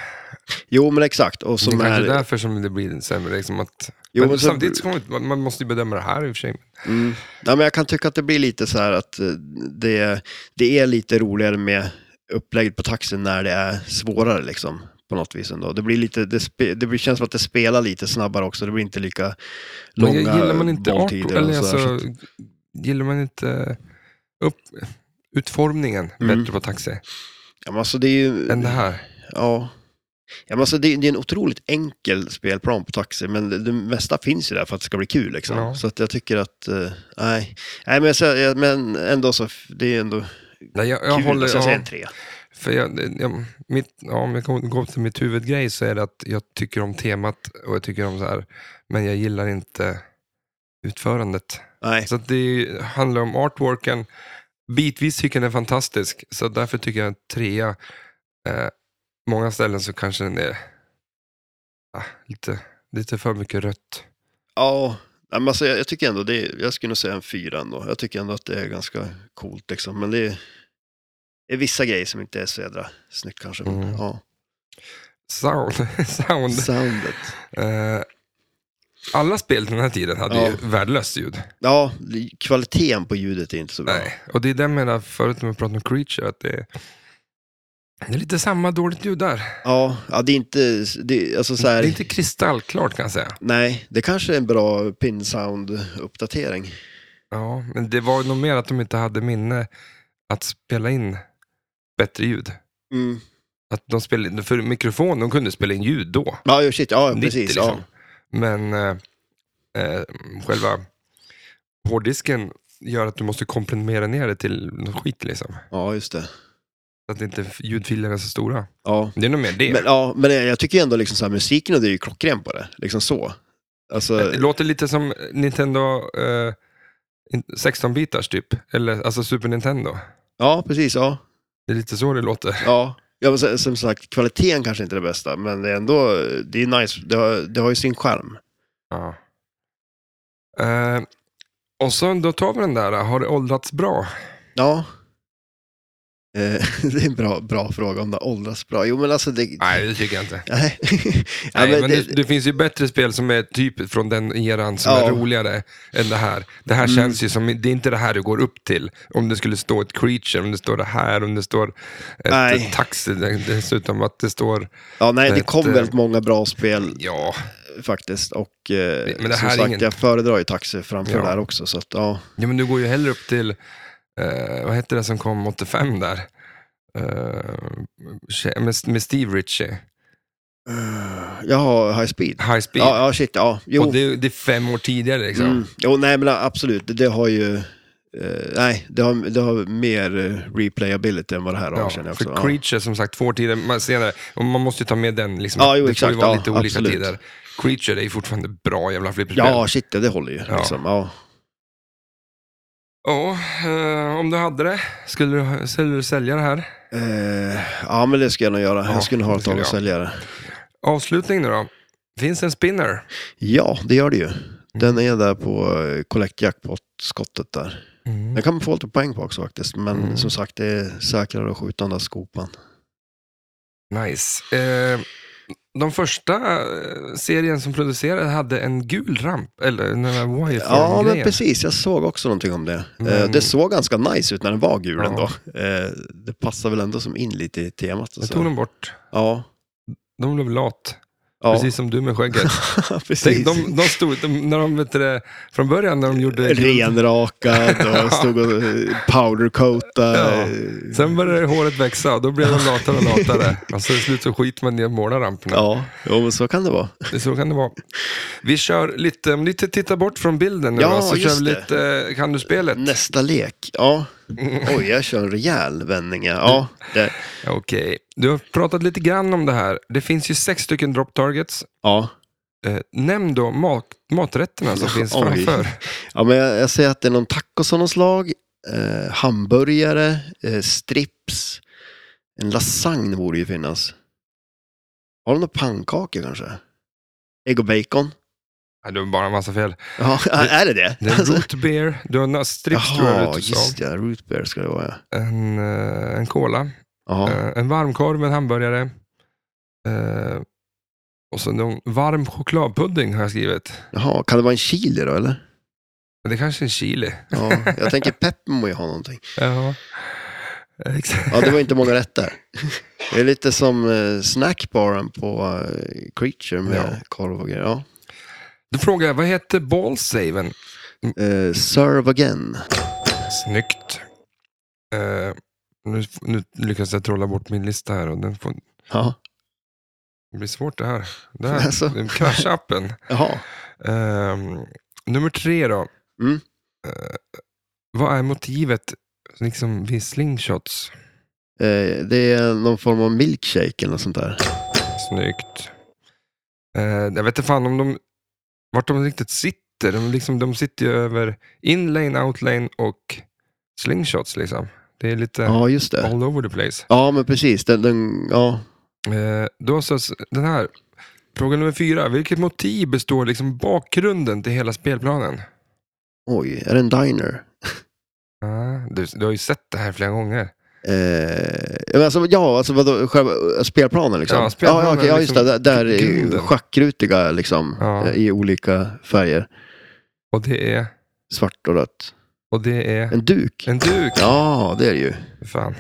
S2: Jo men exakt. Och som
S1: det är
S2: är...
S1: kanske därför som det blir sämre. Liksom att,
S2: Jo,
S1: men
S2: men så-
S1: samtidigt så kommer man, man måste ju bedöma det här i och för sig.
S2: Mm. Ja, men jag kan tycka att det blir lite så här att eh, det, det är lite roligare med upplägget på taxin när det är svårare liksom. På något vis ändå. Det, blir lite, det, spe, det blir, känns som att det spelar lite snabbare också. Det blir inte lika långa
S1: Men gillar man inte art,
S2: bolltider. och
S1: eller
S2: så där, så
S1: alltså,
S2: att-
S1: gillar man inte upp, utformningen
S2: Mm.
S1: bättre på taxi
S2: ja, men alltså det är ju...
S1: än det här?
S2: Ja. Ja, men alltså det, det är en otroligt enkel spelplan på taxi, men det, det mesta finns ju där för att det ska bli kul. Liksom.
S1: Ja.
S2: Så att jag tycker att, eh, nej. nej men, jag, säger- men ändå så, det är ändå kul.
S1: Nej, jag, jag håller,
S2: alltså, jag säger
S1: ja,
S2: en trea.
S1: för jag, jag, mitt, ja, om jag kommer- går till mitt huvudgrej så är det att jag tycker om temat och jag tycker om så här, men jag gillar inte utförandet.
S2: Nej.
S1: Så att det handlar om artworken. Bitvis tycker jag den är fantastisk, så därför tycker jag en trea. Eh, många ställen så kanske den är ah, lite, lite för mycket rött.
S2: Ja, Ja, men alltså, jag, jag tycker ändå det är, jag skulle nog säga en fyra ändå. Jag tycker ändå att det är ganska coolt liksom. Men det är, det är vissa grejer som inte är så jädra snyggt kanske. men
S1: Mm.
S2: Ja.
S1: Sound. Sound.
S2: Soundet.
S1: Eh, alla spel till den här tiden hade
S2: Ja.
S1: ju värdelöst ljud.
S2: Ja, kvaliteten på ljudet är inte så bra.
S1: Nej. Och det är det jag menar förut när vi pratade om Creature, att det är, det är lite samma dåligt ljud där.
S2: Ja, ja, det är inte, det, alltså så här,
S1: Det är inte kristallklart kan jag säga.
S2: nej, det kanske är en bra pinsound-uppdatering.
S1: Ja, men det var ju nog mer att de inte hade minne att spela in bättre ljud.
S2: Mm.
S1: Att de spelade, för mikrofon, de kunde spela in ljud då.
S2: Ja, jo, shit, ja,
S1: 90
S2: precis.
S1: liksom.
S2: Ja.
S1: Men eh, eh, själva hårddisken gör att du måste komprimera ner det till något skit liksom.
S2: ja, just det.
S1: Så att inte ljudfilerna är så stora.
S2: Ja.
S1: Det är nog mer det.
S2: Men, ja, men jag tycker ändå liksom så här, musiken och det är ju klockren på det. Liksom så. Alltså,
S1: det låter lite som Nintendo eh, in- 16-bitars typ. Eller alltså Super Nintendo.
S2: ja, precis. Ja.
S1: Det är lite så det låter.
S2: Ja, ja men så- som sagt, kvaliteten kanske inte är det bästa, men det är ändå, det är nice, det har, det har ju sin charm.
S1: Ja. Eh, och så då tar vi den där, har det åldrats bra?
S2: Ja. Eh, det är en bra, bra fråga om det har åldrats bra. Jo, men alltså det...
S1: Nej, det tycker jag inte.
S2: Nej, ja,
S1: Nej,
S2: men
S1: men
S2: det,
S1: det, det finns ju bättre spel som är typ från den eran som
S2: Ja. Mm.
S1: är roligare än det här. Det här känns ju som, det är inte det här du går upp till. Om det skulle stå ett creature, om det står det här, om det står ett,
S2: Nej.
S1: ett taxi dessutom. Att det står,
S2: ja, nej, det kom
S1: ett, eh,
S2: väldigt många bra spel
S1: ja,
S2: faktiskt. Och eh,
S1: Men det här
S2: som
S1: är
S2: sagt,
S1: ingen-
S2: jag föredrar ju Taxi framför
S1: Ja.
S2: det här också. Så att, ja.
S1: ja men du går ju hellre upp till, eh, vad hette det som kom 85 där? Eh, med, med Steve Ritchie,
S2: Jag har High Speed.
S1: High Speed.
S2: Ja, ja, shit, ja. Jo,
S1: Och det, det är fem år tidigare liksom.
S2: mm. jo nej, men absolut, det, det har ju... Eh, nej, det har, det har mer eh, replayability än vad det här har,
S1: Ja,
S2: känner jag också.
S1: för
S2: ja.
S1: Creature som sagt två år tidigare, man, senare, och man måste ju ta med den. Liksom,
S2: Ja, jo,
S1: det får
S2: exakt,
S1: ju vara
S2: ja,
S1: lite olika
S2: absolut.
S1: tider. Creature är ju fortfarande bra jävla flipperspel.
S2: Ja, shit, ja, det håller ju.
S1: Ja.
S2: Liksom. Ja.
S1: Ja, eh, om du hade det, skulle du, skulle du sälja det här?
S2: Eh, ja, men det ska jag nog göra.
S1: Ja,
S2: jag skulle nog ha
S1: det
S2: ett
S1: ska
S2: tag
S1: du
S2: att
S1: göra.
S2: sälja det.
S1: Avslutning nu då. Finns en spinner?
S2: Ja, det gör det ju. Den
S1: Mm.
S2: är där på eh, Collect Jackpot-skottet där. Den kan man få lite poäng på också faktiskt. Men
S1: Mm.
S2: som sagt, det är säkrare att skjuta den där skopan.
S1: Nice. Eh, de första eh, serien som producerade hade en gul ramp, eller den där
S2: Ja, men
S1: wireform-grejen.
S2: precis. Jag såg också någonting om det. Eh,
S1: Men-
S2: det såg ganska nice ut när den var gul
S1: Mm. Ja.
S2: ändå. Eh, det passar väl ändå som in lite i temat. Och
S1: Jag tog
S2: så.
S1: dem bort.
S2: Ja,
S1: De blev lat,
S2: ja.
S1: precis som du med skägget.
S2: precis.
S1: Tänk, de, de stod, de, när de, vet du, det, från början när de gjorde...
S2: Renrakad och stod och eh, powdercoata.
S1: Ja.
S2: eh,
S1: Sen började håret växa och då blev de latare och latare. Och så till slut så skit man ner målarramperna.
S2: Ja, jo, men så kan det vara.
S1: Det är Så kan det vara. Vi kör lite, om ni t- tittar bort från bilden nu
S2: Ja,
S1: då, så kör
S2: just
S1: vi
S2: det.
S1: lite eh, Kan du-spelet.
S2: Nästa lek. Ja.
S1: Mm.
S2: Oj, jag kör en rejäl vändning. ja. Ja, det,
S1: Okej, du har pratat lite grann om det här. Det finns ju sex stycken drop targets.
S2: ja.
S1: Eh, nämn då mat, maträtterna som finns
S2: Oj.
S1: framför.
S2: ja men jag, jag ser att det är någon tacos av något slag, eh, hamburgare, eh, strips. En lasagne borde ju finnas. Har de några pannkakor kanske? Ägg och bacon?
S1: Nej, det var bara en massa fel.
S2: Ja, är det det?
S1: Det är root beer, du har några strips tror jag
S2: Alltså- Jaha,
S1: det
S2: just
S1: utslag.
S2: det. Root beer ska det vara, ja.
S1: En, eh, en cola,
S2: Jaha.
S1: eh, en varmkorv med hamburgare. Eh, och så någon varm chokladpudding har jag skrivit.
S2: Jaha, kan det vara en chili då, eller?
S1: Men det kanske är en chili.
S2: Ja, jag tänker Pepmo ju ha någonting.
S1: Ja. Exakt.
S2: Ja, det var inte många rätter. Det är lite som eh, snackbaren på eh, Creature med
S1: Ja.
S2: korv och grejer. Ja.
S1: Då frågar jag, vad heter ballsaven? Mm.
S2: Eh, serve again.
S1: Snyggt. Eh, nu, nu lyckas jag trolla bort min lista här och den får,
S2: Ja.
S1: det blir svårt det här. Det här
S2: Alltså.
S1: den kraschar appen.
S2: Jaha.
S1: Ehm, nummer tre då.
S2: Mm.
S1: Eh, vad är motivet liksom vid slingshots?
S2: Eh, det är någon form av milkshake eller något sånt där.
S1: Snyggt. Eh, jag vet inte fan om de, vart de riktigt sitter. De, liksom, de sitter ju över inlane, outlane och slingshots. Liksom. Det är lite
S2: Ja, just det.
S1: all over the place.
S2: Ja, men precis. Den, den, ja.
S1: Eh, då så, den här, Fråga nummer fyra. Vilket motiv består liksom bakgrunden till hela spelplanen?
S2: Oj, är det en diner?
S1: Ah, du, du har ju sett det här flera gånger.
S2: Eh, men alltså, ja, alltså vadå, själva eh, spelplanen liksom?
S1: Ja, spelplanen
S2: okej, ja, just det.
S1: liksom,
S2: Där- Där är ju
S1: grunden.
S2: schackrutiga liksom,
S1: Ja.
S2: eh, i olika färger.
S1: Och det är,
S2: Svart och rött.
S1: och det är
S2: En duk?
S1: en duk.
S2: Ja, det är det ju.
S1: Fan.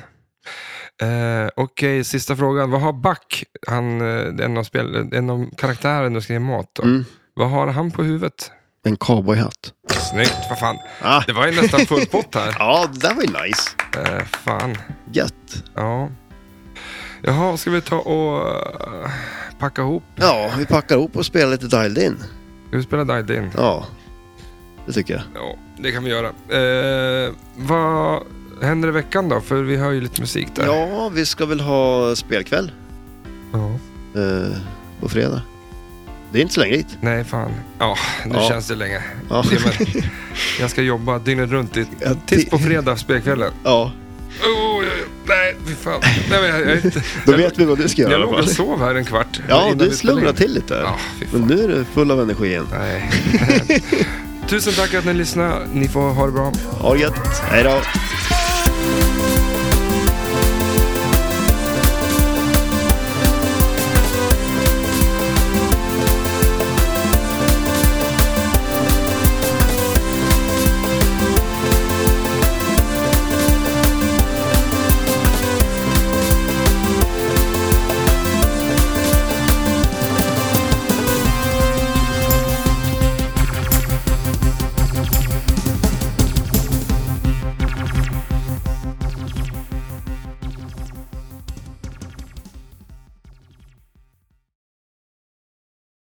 S1: Eh, Okej, sista frågan. Vad har Back, han, eh, en, av spel, en av karaktären du skrev mat om,
S2: Mm.
S1: vad har han på huvudet?
S2: En cowboyhatt.
S1: Snyggt, vad fan.
S2: Ah.
S1: Det var ju nästan full pott här.
S2: Ja, det där var ju nice.
S1: Eh, fan,
S2: Gött.
S1: ja. Jaha, ska vi ta och eh, packa ihop?
S2: Ja, vi packar ihop och spelar lite dialed in.
S1: Ska vi spela Died In?
S2: Ja, det tycker jag.
S1: Ja, det kan vi göra. Eh, vad händer i veckan då? För vi har ju lite musik där.
S2: Ja, vi ska väl ha spelkväll
S1: Ja.
S2: eh, på fredag. Det är inte så länge dit.
S1: Nej, fan. Ja, nu
S2: Ja.
S1: känns det länge.
S2: Ja.
S1: Ja, men, jag ska jobba dygnet runt i,
S2: Ja,
S1: tills
S2: ti-
S1: på fredag, spelkvällen.
S2: Ja,
S1: Oh, jag- nej, fy fan. Nej, men jag, jag, är inte-
S2: då vet vi vad du ska
S1: jag,
S2: göra i
S1: låg
S2: alla
S1: och
S2: fall.
S1: sov här en kvart.
S2: Ja,
S1: innan
S2: du
S1: vi spelade
S2: slumrar
S1: in.
S2: till lite.
S1: Ja, fy fan.
S2: Men nu är du full av energi igen.
S1: Nej. Tusen tack att ni lyssnade. Ni får ha det bra.
S2: Ha det gött. Hej då.
S4: Thank